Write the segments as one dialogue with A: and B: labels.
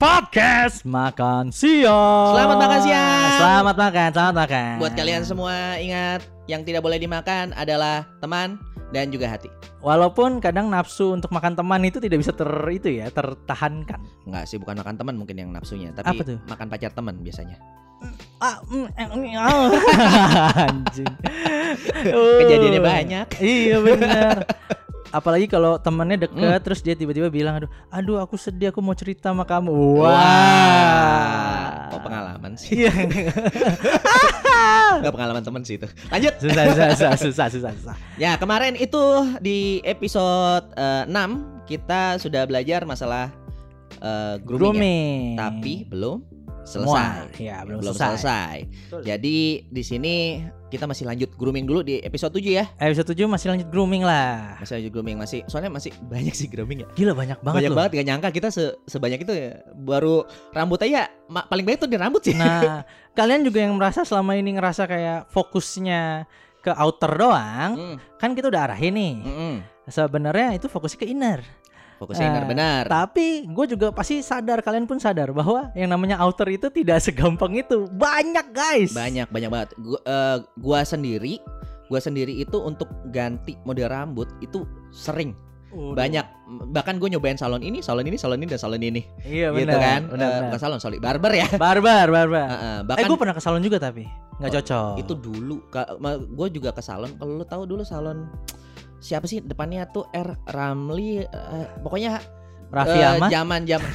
A: Podcast Makan Siang.
B: Selamat makan siang.
A: Selamat makan, selamat makan.
B: Buat kalian semua ingat yang tidak boleh dimakan adalah teman dan juga hati.
A: Walaupun kadang nafsu untuk makan teman itu tidak bisa ter itu ya, tertahankan.
B: Enggak sih bukan makan teman mungkin yang nafsunya, tapi
A: Apa tuh?
B: makan pacar teman biasanya.
A: Ah, mm, eh, mm,
B: ya.
A: ah. Anjing. Uh,
B: Kejadiannya banyak.
A: Iya benar. Apalagi kalau temannya
B: Hmm.
A: deket terus dia tiba-tiba bilang aduh, aduh aku sedih aku mau cerita sama kamu. Wah.
B: Kok pengalaman sih?
A: Iya.
B: Enggak pengalaman teman sih itu. Lanjut.
A: susah, susah, susah, susah, susah, susah.
B: Ya, kemarin itu di episode eh, 6 kita sudah belajar masalah eh, grooming, ya.
A: Grooming.
B: tapi belum
A: Semua.
B: selesai.
A: Ya, belum,
B: Belum
A: selesai.
B: selesai.
A: Betul.
B: Jadi di sini kita masih lanjut grooming dulu di episode 7 ya.
A: Episode 7 masih lanjut grooming lah.
B: Masih lanjut grooming masih. Soalnya masih banyak sih grooming ya.
A: Gila banyak banget
B: banyak
A: loh.
B: banget gak nyangka kita se- sebanyak itu ya. Baru rambut aja ma- paling banyak tuh di rambut sih.
A: Nah, kalian juga yang merasa selama ini ngerasa kayak fokusnya ke outer doang,
B: Mm,
A: kan kita udah arahin nih.
B: mm, mm.
A: Sebenarnya itu fokusnya ke inner.
B: Fokusnya inner
A: Eh,
B: benar.
A: Tapi gue juga pasti sadar, kalian pun sadar bahwa yang namanya outer itu tidak segampang itu. Banyak guys.
B: Banyak banyak banget. Gua, eh, gua sendiri, gua sendiri itu untuk ganti mode rambut itu sering
A: Waduh.
B: banyak bahkan gue nyobain salon ini salon ini salon ini dan salon ini
A: Iya
B: gitu
A: benar.
B: kan
A: Benar,
B: Eh,
A: benar. Nah.
B: bukan salon sorry barber ya
A: Barbar, barbar.
B: Heeh,
A: eh
B: bahkan
A: gue pernah ke salon juga tapi nggak
B: Oh,
A: cocok.
B: itu dulu gue juga ke salon kalau lu tahu dulu salon siapa sih depannya tuh R Ramli eh, pokoknya
A: Raffi
B: eh,
A: Ahmad
B: zaman zaman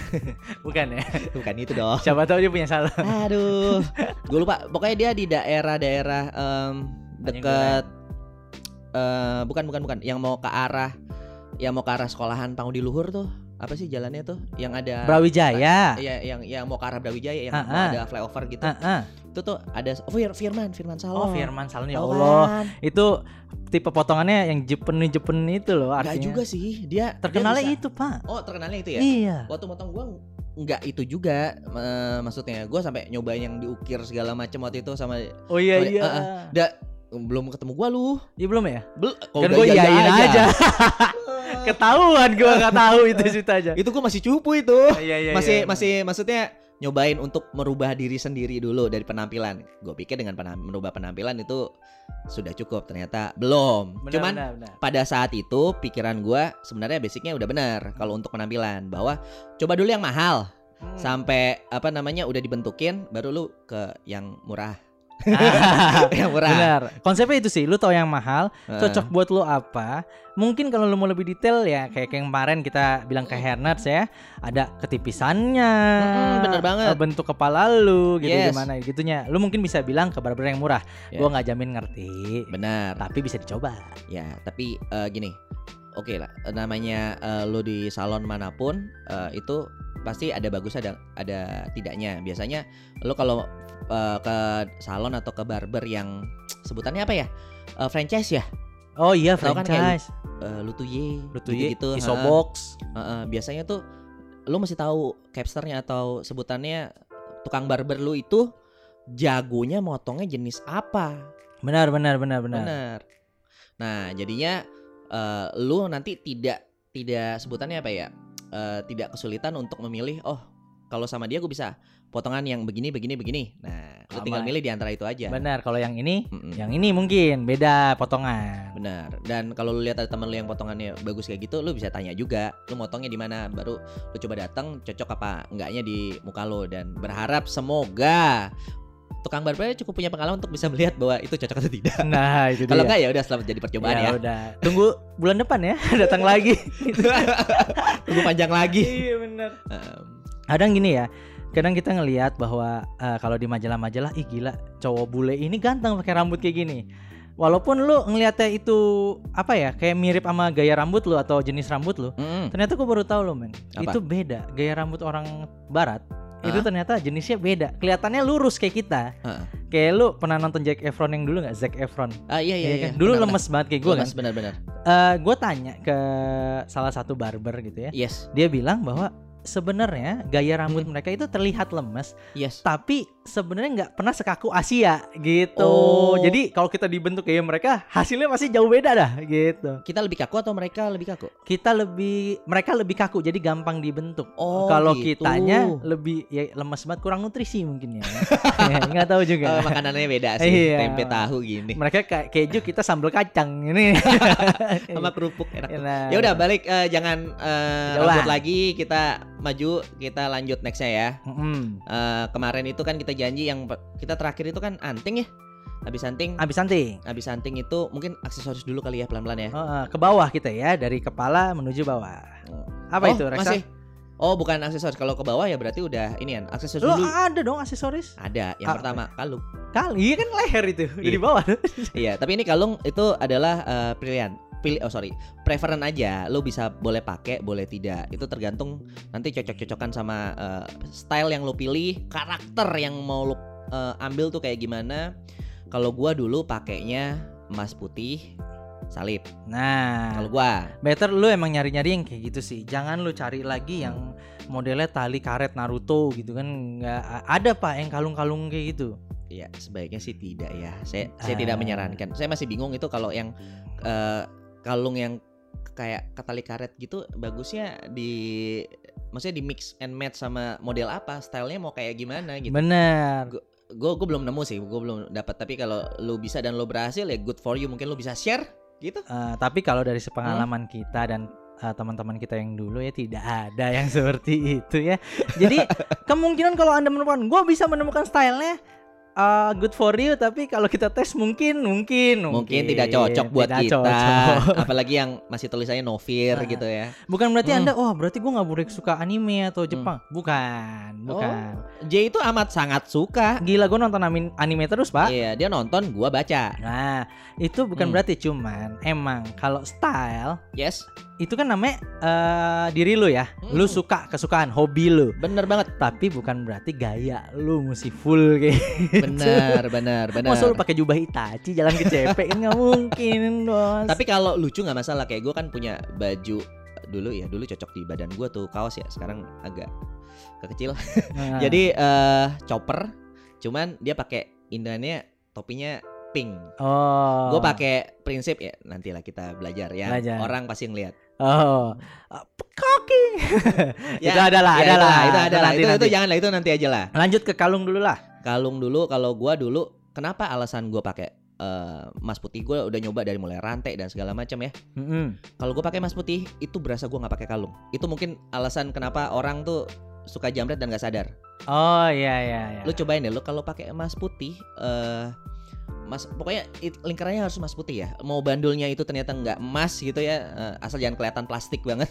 A: bukan ya?
B: bukan itu dong
A: Siapa tahu dia punya salon.
B: Eh, aduh gue lupa pokoknya dia di daerah-daerah em, deket eh, bukan bukan bukan yang mau ke arah yang mau ke arah sekolahan Pangu di Luhur tuh apa sih jalannya tuh yang ada
A: Brawijaya.
B: ya yang yang mau ke arah Brawijaya yang
A: Ah,
B: mau
A: ah.
B: ada flyover gitu
A: Ah, ah.
B: itu tuh ada oh, Fir- Firman Firman Salon
A: Oh, Firman Salon ya
B: Tahu
A: Allah.
B: kan?
A: Itu tipe potongannya yang jepen-jepen itu loh
B: Enggak
A: artinya.
B: juga sih, dia dia
A: Terkenalnya
B: bisa-
A: itu, Pak.
B: Oh, terkenalnya itu ya.
A: Iya.
B: Waktu motong gua enggak itu juga eh, maksudnya. Gua sampai nyobain yang diukir segala macam waktu itu sama
A: Oh iya
B: Oh,
A: iya.
B: ah, da, belum ketemu gua lu.
A: Iya belum ya?
B: Bel, kalau
A: kan
B: udah
A: gue
B: iya
A: iyain aja. Ketahuan gua nggak tahu itu ceritanya.
B: itu gua masih cupu itu.
A: Iya iya.
B: Masih
A: iya.
B: masih maksudnya nyobain untuk merubah diri sendiri dulu dari penampilan. Gua pikir dengan penam- merubah penampilan itu sudah cukup, ternyata belum.
A: Benar,
B: Cuman
A: benar, benar.
B: pada saat itu pikiran gua sebenarnya basicnya udah benar kalau untuk penampilan bahwa coba dulu yang mahal
A: Hmm.
B: sampai apa namanya udah dibentukin baru lu ke yang murah
A: Ah,
B: yang murah
A: Benar. Konsepnya itu sih, lu tau yang mahal,
B: Heeh.
A: cocok buat lu apa? Mungkin kalau lu mau lebih detail ya kayak kayak yang kemarin kita bilang ke Hernats ya, ada ketipisannya.
B: Mm-mm, bener banget.
A: eh, Bentuk kepala lu gitu
B: Yes.
A: gimana gitunya. Lu mungkin bisa bilang ke barber yang murah.
B: Ya.
A: Gua nggak jamin ngerti,
B: Eh, benar
A: tapi bisa dicoba.
B: ya tapi eh, gini oke lah namanya eh, lu di salon manapun eh, itu pasti ada bagus ada ada tidaknya biasanya lu kalau eh, ke salon atau ke barber yang sebutannya apa ya Eh, franchise ya
A: Oh iya,
B: Tau kan kayak
A: franchise.
B: Eh, lutuye
A: Lu tuh ya,
B: gitu-gitu,
A: iso
B: ha.
A: box.
B: Heeh, biasanya tuh lu mesti tahu capsternya atau sebutannya tukang barber lu itu jagonya motongnya jenis apa.
A: Benar, benar, benar, benar.
B: Bener. Nah, jadinya eh, lu nanti tidak tidak sebutannya apa ya? Eh, tidak kesulitan untuk memilih oh kalau sama dia gue bisa potongan yang begini begini begini. Nah, lu
A: Sama.
B: tinggal milih di antara itu aja.
A: Benar, kalau yang
B: iya.
A: ini,
B: Mm-mm.
A: yang ini mungkin beda potongan.
B: Benar. Dan kalau lu lihat ada teman lu yang potongannya bagus kayak gitu, lu bisa tanya juga, lu motongnya di mana? Baru lu coba datang cocok apa enggaknya di muka lu dan berharap semoga tukang barbernya cukup punya pengalaman untuk bisa melihat bahwa itu cocok atau tidak.
A: Nah, itu
B: Kalau
A: dia.
B: enggak ya udah selamat jadi percobaan ya.
A: udah. Tunggu bulan depan ya, datang lagi. Gitu.
B: Tunggu panjang lagi.
A: iya, benar.
B: Em,
A: kadang gini ya kadang kita ngelihat bahwa eh, kalau di majalah-majalah ih gila cowok bule ini ganteng pakai rambut kayak gini walaupun lu ngelihatnya itu apa ya kayak mirip sama gaya rambut lu atau jenis rambut lu
B: mm-mm.
A: ternyata gue baru tahu lo men
B: Apa?
A: itu beda gaya rambut orang barat itu
B: Hah?
A: ternyata jenisnya beda kelihatannya lurus kayak kita
B: Heeh.
A: kayak lu pernah nonton Zac Efron yang dulu nggak Zac Efron
B: Ah iya iya
A: Iya
B: iya.
A: kan? dulu
B: Benar-benar.
A: lemes banget kayak gue kan
B: Lemes benar-benar.
A: Eh gue tanya ke salah satu barber gitu ya
B: Yes.
A: dia bilang bahwa sebenarnya gaya rambut
B: Hmm.
A: mereka itu terlihat lemes,
B: Yes.
A: tapi sebenarnya nggak pernah sekaku Asia gitu.
B: Oh.
A: Jadi kalau kita dibentuk kayak mereka, hasilnya masih jauh beda dah gitu.
B: Kita lebih kaku atau mereka lebih kaku?
A: Kita lebih mereka lebih kaku, jadi gampang dibentuk.
B: Oh,
A: kalau
B: gitu.
A: kitanya lebih ya lemes banget, kurang nutrisi mungkin ya. Ya, Nggak tahu juga.
B: Eh, makanannya beda sih.
A: Iya.
B: Tempe tahu gini.
A: mereka kayak keju, kita sambal kacang ini. Iya.
B: Sama kerupuk enak. tuh.
A: Nah,
B: Ya udah balik eh, jangan eh,
A: Jauhan.
B: rambut lagi kita maju kita lanjut nextnya ya.
A: mm-mm.
B: Eh, kemarin itu kan kita janji yang pe- kita terakhir itu kan anting ya. Habis anting,
A: Abis nanti
B: habis anting itu mungkin aksesoris dulu kali ya pelan-pelan ya.
A: Oh, eh, ke bawah kita ya dari kepala menuju bawah. Apa
B: Oh,
A: itu Reksa?
B: Masih. Oh, bukan aksesoris. Kalau ke bawah ya berarti udah ini kan aksesoris
A: Lo
B: dulu.
A: ada dong aksesoris?
B: Ada yang
A: Apa?
B: pertama kalung.
A: Kali iya kan leher itu dari
B: Iya.
A: bawah.
B: Iya, tapi ini kalung itu adalah eh, pilihan. Pilih oh sorry, preferen aja. Lo bisa boleh pakai, boleh tidak. Itu tergantung nanti cocok-cocokan sama eh, style yang lo pilih, karakter yang mau lo eh, ambil tuh kayak gimana. Kalau gua dulu pakainya emas putih salib.
A: Nah,
B: Kalau gua
A: better lu emang nyari-nyari yang kayak gitu sih. Jangan lu cari lagi yang modelnya tali karet Naruto gitu kan nggak a- ada Pak yang kalung-kalung kayak gitu.
B: Ya sebaiknya sih tidak ya. Saya saya
A: Ah.
B: tidak menyarankan. Saya masih bingung itu kalau yang eh, kalung yang kayak ketali karet gitu bagusnya di maksudnya di mix and match sama model apa, stylenya mau kayak gimana gitu.
A: Bener.
B: Gue gue belum nemu sih, gue belum dapat. Tapi kalau lu bisa dan lu berhasil ya good for you. Mungkin lu bisa share gitu.
A: Eh, tapi kalau dari sepengalaman kita dan eh, teman-teman kita yang dulu ya tidak ada yang seperti itu ya. Jadi kemungkinan kalau anda menemukan, gue bisa menemukan stylenya eh, good for you. Tapi kalau kita tes mungkin, mungkin,
B: Mungkin, tidak cocok buat
A: Tidak
B: kita.
A: cocok.
B: Apalagi yang masih tulisannya no fear
A: Ah.
B: gitu ya.
A: Bukan berarti
B: Hmm.
A: anda, wah berarti gue nggak boleh suka anime atau Jepang. Bukan,
B: Oh.
A: bukan.
B: J itu amat sangat suka.
A: Gila gue nonton amin- anime terus pak.
B: Iya, dia nonton, gua baca.
A: Nah itu
B: Hmm.
A: bukan berarti cuman emang kalau style
B: Yes,
A: itu kan namanya eh, diri lu ya. Lu
B: Hmm.
A: suka kesukaan, hobi lu.
B: bener banget.
A: tapi bukan berarti gaya lu mesti full kayak
B: Bener, bener, bener.
A: masa lu pakai jubah Itachi jalan ke CP kan nggak mungkin bos
B: Tapi kalau lucu nggak masalah kayak gue kan punya baju dulu ya dulu cocok di badan gue tuh kaos ya sekarang agak kekecil.
A: Nah,
B: Jadi eh chopper, cuman dia pakai indannya topinya pink.
A: oh
B: Gue pakai prinsip ya nantilah kita belajar ya.
A: Belajar.
B: Orang pasti ngelihat.
A: oh Uh, cocky itu
B: Ya,
A: adalah
B: ya,
A: adalah
B: itu adalah
A: nanti,
B: itu, itu
A: nanti.
B: jangan lah itu nanti aja lah.
A: lanjut ke kalung dulu lah
B: Kalung dulu kalau gue dulu kenapa alasan gue pakai eh, emas putih gue udah nyoba dari mulai rantai dan segala macam ya.
A: Mm-mm.
B: kalau gue pakai emas putih itu berasa gue nggak pakai kalung itu mungkin alasan kenapa orang tuh suka jamret dan nggak sadar
A: oh iya iya iya
B: lu cobain deh lu kalau pakai emas putih eh mas pokoknya it- lingkarannya harus emas putih ya mau bandulnya itu ternyata nggak emas gitu ya eh, asal jangan kelihatan plastik banget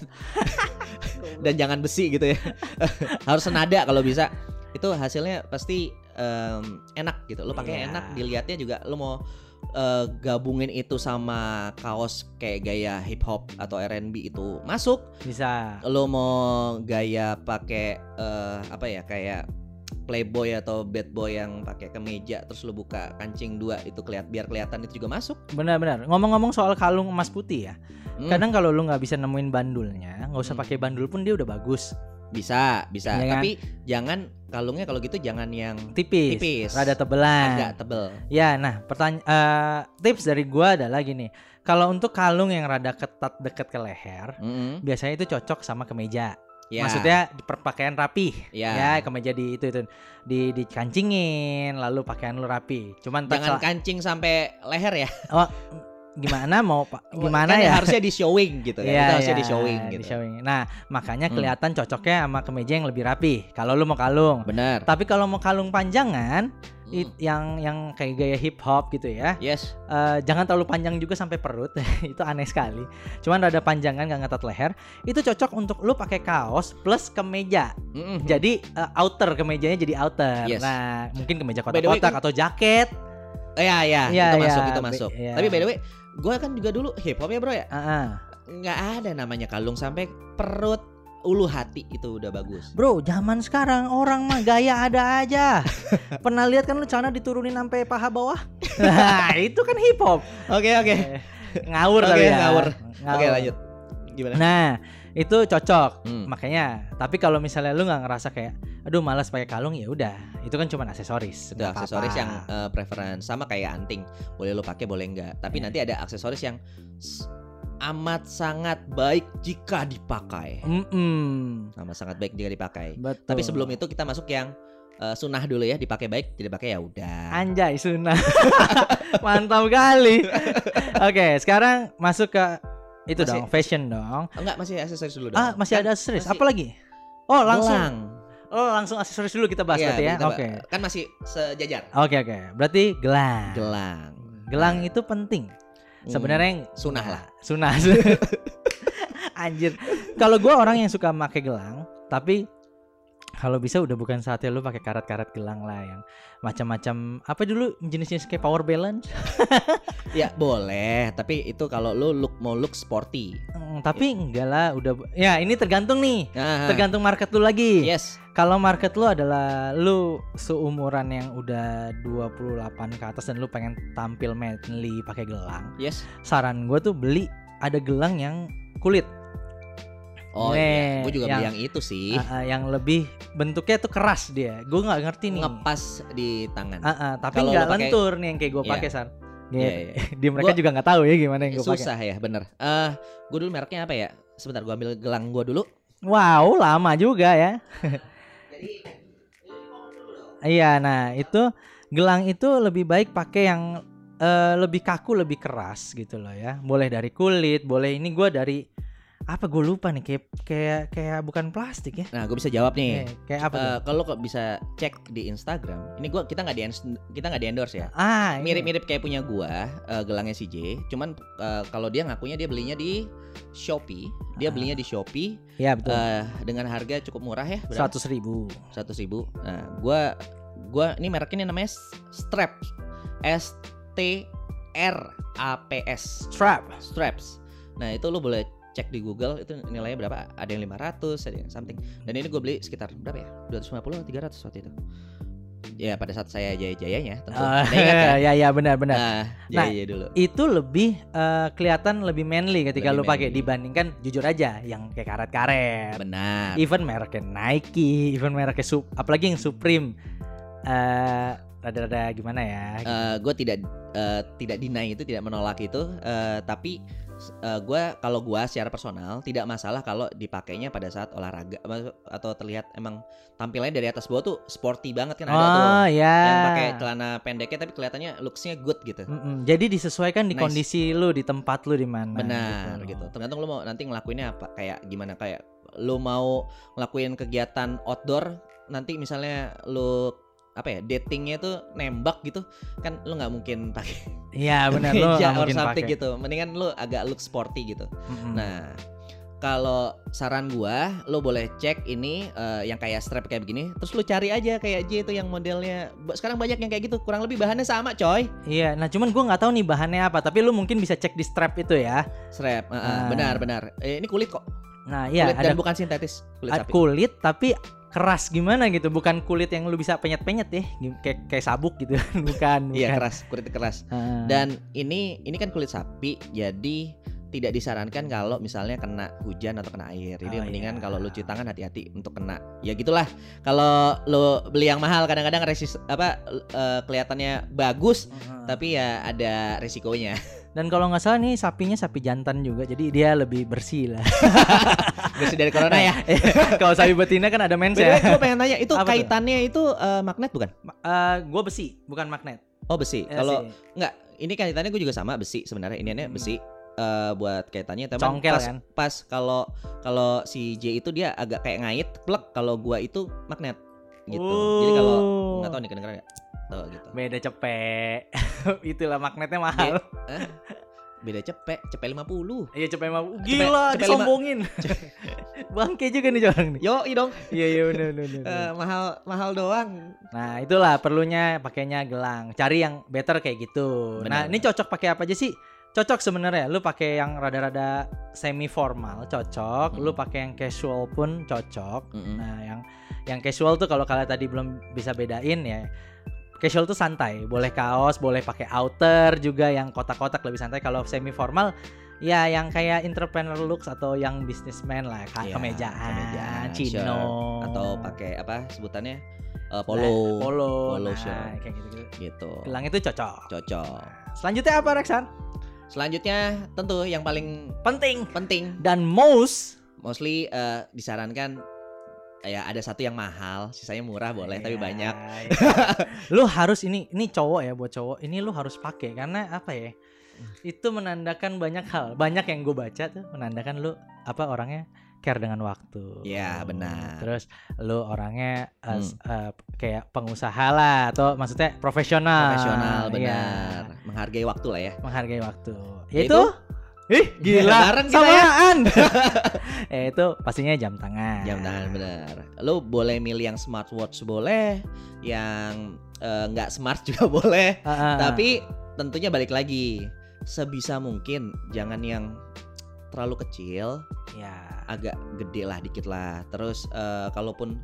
B: dan jangan besi gitu ya harus senada kalau bisa itu hasilnya pasti em, enak gitu lo pakai
A: Iya.
B: enak dilihatnya juga lo mau eh, gabungin itu sama kaos kayak gaya hip hop atau R&B itu masuk
A: bisa
B: lo mau gaya pakai eh, apa ya kayak playboy atau bad boy yang pakai kemeja terus lo buka kancing dua itu kelihat biar kelihatan itu juga masuk
A: benar-benar ngomong-ngomong soal kalung emas putih ya
B: Hmm,
A: kadang kalau lu nggak bisa nemuin bandulnya nggak usah
B: Hmm.
A: pakai bandul pun dia udah bagus
B: bisa bisa
A: Iya kan?
B: tapi jangan kalungnya kalau gitu jangan yang
A: tipis,
B: tipis
A: rada tebelan
B: agak tebel
A: Ya, nah, pertanyaan tips dari gua adalah gini. Kalau untuk kalung yang rada ketat deket ke leher,
B: Mm-mm.
A: biasanya itu cocok sama kemeja.
B: Hmm, Ya.
A: Maksudnya perpakaian rapi.
B: Ya.
A: Ya, kemeja di itu itu di dikancingin, lalu pakaian lu rapi. Cuman ntar
B: Jangan
A: salah-
B: kancing sampai leher ya.
A: gimana mau Pak? Gimana
B: Kan
A: ya?
B: Harusnya di showing gitu kan.
A: Iya,
B: Itu harusnya
A: iya,
B: di showing
A: di
B: gitu.
A: showing. Nah, makanya
B: Hmm.
A: kelihatan cocoknya sama kemeja yang lebih rapi. Kalau lu mau kalung.
B: Benar.
A: Tapi kalau mau kalung panjangan,
B: Hmm.
A: it- yang yang kayak gaya hip hop gitu ya.
B: Yes.
A: Eh, jangan terlalu panjang juga sampai perut itu aneh sekali cuman rada panjang kan nggak ngetat leher itu cocok untuk lu pakai kaos plus kemeja
B: Mm-mm.
A: jadi eh, outer kemejanya jadi outer
B: Hmm. Yes.
A: nah mungkin kemeja
B: By the way,
A: kotak-kotak
B: kan-
A: atau jaket
B: Eh, ya ya,
A: Iya,
B: itu
A: iya,
B: masuk itu
A: be-
B: masuk.
A: iya.
B: Tapi by the way, gue kan juga dulu hip hop ya bro ya.
A: Ah, ah.
B: Nggak ada namanya kalung sampai perut ulu hati itu udah bagus.
A: bro zaman sekarang orang mah gaya ada aja pernah lihat kan lu celana diturunin sampai paha bawah nah itu kan hip hop
B: Oke oke.
A: ngawur
B: Eh. Oke,
A: tapi ya
B: ngawur. Oke lanjut. gimana?
A: Nah, itu cocok.
B: Hmm.
A: Makanya, tapi kalau misalnya lu nggak ngerasa kayak aduh malas pakai kalung ya udah, itu kan cuma aksesoris.
B: Udah
A: nggak apa-apa.
B: aksesoris yang eh, preference sama kayak anting, boleh lo pakai boleh enggak. Tapi
A: Iya.
B: nanti ada aksesoris yang s- amat sangat baik jika dipakai.
A: Mm-mm.
B: Amat sangat baik jika dipakai.
A: Betul.
B: Tapi sebelum itu kita masuk yang eh, sunnah dulu ya, dipakai baik, tidak pakai ya udah.
A: Anjay Sunnah Mantap kali Oke sekarang masuk ke Itu
B: Masih-
A: dong fashion dong
B: Oh, enggak masih aksesoris dulu dong.
A: Ah masih
B: Kan
A: ada aksesoris
B: masih-
A: Apa lagi? Oh langsung
B: gelang.
A: Oh langsung aksesoris dulu kita bahas
B: Iya,
A: berarti ya
B: kita-
A: Oke Nah.
B: Kan masih sejajar.
A: Oke oke Berarti gelang
B: Gelang.
A: Gelang itu penting
B: Hmm,
A: Sebenarnya yang
B: sunnah lah.
A: Sunnah Anjir Kalau gue orang yang suka pakai gelang Tapi kalau bisa udah bukan saatnya lu pakai karat-karat gelang lah yang macam-macam apa dulu jenis-jenis kayak power balance
B: Ya boleh, tapi itu kalau lo look mau look sporty.
A: Mm, tapi enggak lah udah bu- ya ini tergantung nih
B: Nah,
A: tergantung market lu lagi
B: yes.
A: kalau market lu adalah lu seumuran yang udah 28 ke atas dan lu pengen tampil manly pakai gelang
B: Yes.
A: saran gue tuh beli ada gelang yang kulit
B: Oh
A: Nih,
B: iya, gue juga
A: yang-
B: bilang itu sih.
A: Ah, ah, yang lebih bentuknya tuh keras dia gue nggak ngerti nih
B: Ngepas di tangan.
A: Ah, ah, tapi
B: Kalau lu
A: nggak
B: pakai-
A: lentur nih yang kayak gue
B: Iya.
A: pakai san
B: Iya,
A: Gitu.
B: iya.
A: di mereka
B: Gua-
A: juga nggak tahu ya gimana yang gue pakai
B: Susah ya, bener. Eh, gue dulu mereknya apa ya? Sebentar, gue ambil gelang gue dulu.
A: wow lama juga ya
B: Jadi
A: Iya, nah itu gelang itu lebih baik pakai yang eh, lebih kaku, lebih keras gitu loh ya. Boleh dari kulit, boleh ini gua dari apa gue lupa nih kayak kayak kayak bukan plastik ya.
B: Nah, gue bisa jawab nih.
A: Kayak, kayak apa? tuh?
B: Eh, kalau kok bisa cek di Instagram, ini gua kita nggak di kita nggak di endorse ya.
A: ah, ini.
B: Mirip-mirip kayak punya gua eh, gelangnya si J. Cuman eh, kalau dia ngakunya dia belinya di Shopee, dia
A: Ah.
B: belinya di Shopee
A: Iya betul.
B: eh, dengan harga cukup murah ya, berapa?
A: Seratus ribu.
B: seratus ribu. Nah, gua gua ini mereknya namanya S- Straps, S T R A P S,
A: Strap.
B: Straps. Nah itu lo boleh cek di Google itu nilainya berapa? Ada yang 500, ada yang something. Dan ini gue beli sekitar berapa ya? 250 300 waktu itu. Ya pada saat saya jaya-jayanya tentu.
A: Ah,
B: Anda ingat ya?
A: ya ya benar-benar.
B: Nah,
A: Nah,
B: jaya-jaya dulu.
A: Itu lebih eh, kelihatan lebih manly ketika
B: Lebih
A: lu pakai
B: manly.
A: dibandingkan jujur aja yang kayak karet-karet.
B: Benar.
A: even mereknya Nike, even mereknya Sup, apalagi yang Supreme. Eh, rada-rada gimana ya?
B: gue Eh, tidak eh, tidak deny itu tidak menolak itu eh, tapi gue kalau gue secara personal tidak masalah kalau dipakainya pada saat olahraga apa- atau terlihat emang tampilannya dari atas bawah tuh sporty banget kan ada tuh
A: oh ya.
B: yang pakai celana pendeknya tapi kelihatannya looksnya good gitu
A: Mm-mm, Jadi disesuaikan di
B: Nice.
A: kondisi lu, di tempat lu di mana.
B: benar
A: loh.
B: gitu tergantung lo mau nanti ngelakuinnya apa kayak gimana kayak lo mau ngelakuin kegiatan outdoor nanti misalnya lo apa ya datingnya tuh nembak gitu kan lo nggak mungkin pakai
A: Iya benar lu
B: meja or
A: nggak mungkin
B: something
A: pakai. Hmm.
B: gitu. Mendingan lu agak look sporty gitu.
A: Mm-mm.
B: Nah, kalau saran gua, lu boleh cek ini eh, yang kayak strap kayak begini, terus lu cari aja kayak J itu yang modelnya. Ba- Sekarang banyak yang kayak gitu, kurang lebih bahannya sama, coy.
A: Iya, nah cuman gua nggak tahu nih bahannya apa, tapi lu mungkin bisa cek di strap itu ya.
B: Strap, eh, eh,
A: Ah.
B: benar benar. Eh, ini kulit kok,
A: Nah, iya
B: kulit
A: ada
B: dan bukan sintetis, kulit
A: ada
B: sapi.
A: kulit tapi keras gimana gitu, bukan kulit yang lu bisa penyet-penyet ya, Gim- kayak kayak sabuk gitu. bukan, bukan.
B: Iya, keras, kulit keras.
A: Ah.
B: Dan ini ini kan kulit sapi, jadi tidak disarankan kalau misalnya kena hujan atau kena air. Jadi
A: Oh,
B: mendingan
A: iya.
B: kalau lu cuci tangan hati-hati untuk kena. Ya gitulah. Kalau lu beli yang mahal kadang-kadang resis apa eh, kelihatannya bagus
A: Mm-mm.
B: tapi ya ada resikonya.
A: Dan kalau nggak salah nih sapinya sapi jantan juga, jadi dia lebih bersih lah.
B: Bersih dari corona ya.
A: kalau sapi betina kan ada mens ya.
B: gue pengen nanya itu
A: Apa tuh?
B: kaitannya itu eh, magnet bukan?
A: gue Eh, besi, bukan magnet.
B: Oh besi.
A: Ya
B: Kalau
A: sih.
B: enggak, ini kaitannya gue juga sama besi sebenarnya. Ini aneh
A: Hmm.
B: besi eh, buat kaitannya tapi
A: congkel
B: pas
A: kan.
B: pas kalau kalau si J itu dia agak kayak ngait plek kalau gua itu magnet gitu jadi kalau
A: Oh.
B: nggak tahu nih kedengeran nggak tahu gitu
A: beda cepek. Itulah magnetnya mahal.
B: beda cepek cepek 50
A: Iya cepek mah
B: cepek
A: gila
B: lima.
A: disombongin. Bangke juga nih orang nih.
B: yo dong
A: Iya iya benar benar. benar.
B: Eh, mahal mahal doang
A: Nah, itulah perlunya pakainya gelang. Cari yang better kayak gitu. Nah,
B: Benar.
A: ini cocok pakai apa aja sih? Cocok sebenarnya. Lu pakai yang rada-rada semi formal cocok, lu
B: Hmm.
A: pakai yang casual pun cocok.
B: Mm-mm.
A: Nah, yang yang casual tuh kalau kalian tadi belum bisa bedain ya. Casual tuh santai, boleh kaos, boleh pakai outer juga yang kotak-kotak lebih santai. Kalau semi formal Ya yang kayak entrepreneur looks atau yang businessman lah, ka-
B: Iya,
A: kemejaan,
B: kemejaan,
A: chino
B: shirt,
A: Oh.
B: atau pakai apa sebutannya eh, polo,
A: polo,
B: polo
A: nah,
B: shirt.
A: kayak gitu-gitu.
B: gitu.
A: Gelang itu cocok.
B: Cocok.
A: Selanjutnya apa Reksan?
B: Selanjutnya tentu yang paling
A: Penting
B: penting
A: dan most
B: mostly eh, disarankan ya ada satu yang mahal, sisanya murah boleh tapi
A: Iya,
B: banyak.
A: iya. lu harus ini ini cowok ya buat cowok. Ini lu harus pakai karena apa ya? Itu menandakan banyak hal. Banyak yang gue baca tuh menandakan lu apa orangnya care dengan waktu.
B: Iya, benar.
A: Terus lu orangnya eh,
B: Hmm.
A: s- eh, kayak pengusaha lah atau maksudnya profesional.
B: Profesional
A: Iya,
B: benar, menghargai waktu lah ya.
A: menghargai waktu.
B: Yaitu?
A: Yaitu Ih, gila.
B: Bareng kita ya.
A: Samaan. ya itu pastinya jam tangan.
B: Jam tangan Ya, benar. Lu boleh milih yang smartwatch boleh, yang eh, nggak smart juga boleh.
A: Heeh.
B: Tapi tentunya balik lagi sebisa mungkin jangan yang terlalu kecil,
A: ya.
B: agak gede lah dikit lah. Terus eh, kalaupun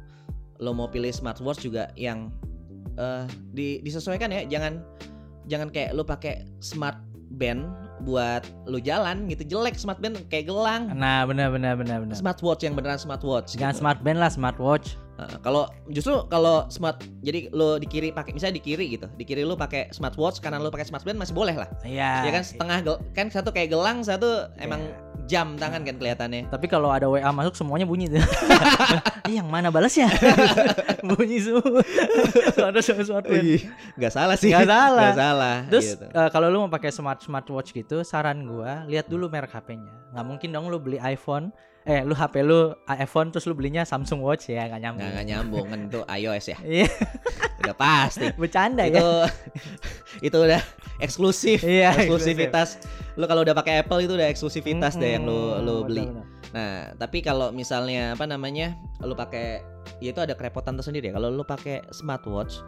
B: lo mau pilih smartwatch juga yang eh, di- disesuaikan ya, jangan jangan kayak lo pakai smart band buat lo jalan gitu jelek smart band kayak gelang.
A: Nah, benar benar benar benar.
B: Smartwatch yang beneran smartwatch.
A: Jangan
B: gitu.
A: smart band lah, smartwatch.
B: Nah, kalau justru kalau smart jadi lo di kiri pakai misalnya di kiri gitu di kiri lo pakai smartwatch kanan lo pakai smartband masih boleh lah
A: Iya.
B: ya kan setengah gel- kan satu kayak gelang satu emang jam tangan kan kelihatannya
A: Tapi kalau ada WA masuk semuanya bunyi tuh. Ih, yang mana balas ya? bunyi semua. Ada sama smartband.
B: Ih, nggak salah sih
A: Oh, iya. Nggak salah.
B: nggak salah
A: Terus
B: gitu.
A: eh, kalau lu mau pakai smart smartwatch gitu, saran gua lihat dulu merek HP-nya. Nggak mungkin dong lu beli iPhone, eh lu HP lu iPhone terus lu belinya Samsung Watch ya
B: nggak
A: nggak nyambung.
B: nggak nyambung kan itu iOS ya
A: Iya,
B: udah pasti
A: bercanda
B: itu
A: ya.
B: itu udah eksklusif
A: Iya,
B: eksklusivitas lo kalau udah pakai Apple itu udah eksklusivitas deh yang lo lo
A: Mm,
B: beli
A: benar-benar.
B: Nah, tapi kalau misalnya apa namanya, lu pakai ya itu ada kerepotan tersendiri ya. Kalau lu pakai smartwatch,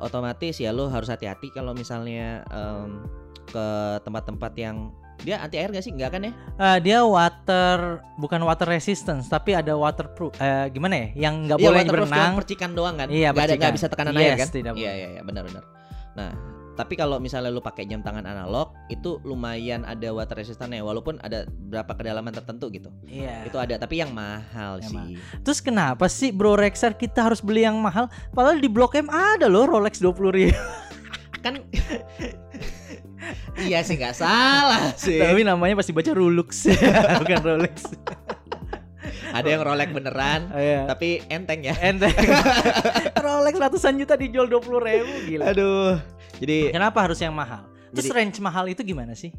B: otomatis ya lu harus hati-hati kalau misalnya em, ke tempat-tempat yang dia anti air gak sih? Enggak kan ya?
A: Eh, dia water bukan water resistance tapi ada waterproof eh, gimana ya yang nggak
B: Iya,
A: boleh
B: waterproof
A: berenang
B: cuma percikan doang kan? Nggak ada-
A: Iya,
B: nggak
A: percikan.
B: bisa tekanan
A: Yes,
B: air kan?
A: tidak
B: Iya,
A: boleh.
B: iya, iya, benar-benar. Nah, tapi kalau misalnya lu pakai jam tangan analog itu lumayan ada water resistance walaupun ada berapa kedalaman tertentu gitu.
A: Iya.
B: Itu ada, tapi yang mahal
A: Yang
B: sih.
A: Terus kenapa sih Bro Rexer kita harus beli yang mahal? Padahal di Blok M ada loh Rolex 20 ribu.
B: kan iya sih nggak salah sih
A: Tapi namanya pasti baca Rolex, bukan Rolex.
B: ada yang Rolex beneran
A: Iya.
B: tapi enteng ya
A: Enteng. Rolex ratusan juta dijual 20 ribu gila.
B: aduh jadi
A: Kenapa harus yang mahal? Terus
B: Jadi-
A: range mahal itu gimana sih?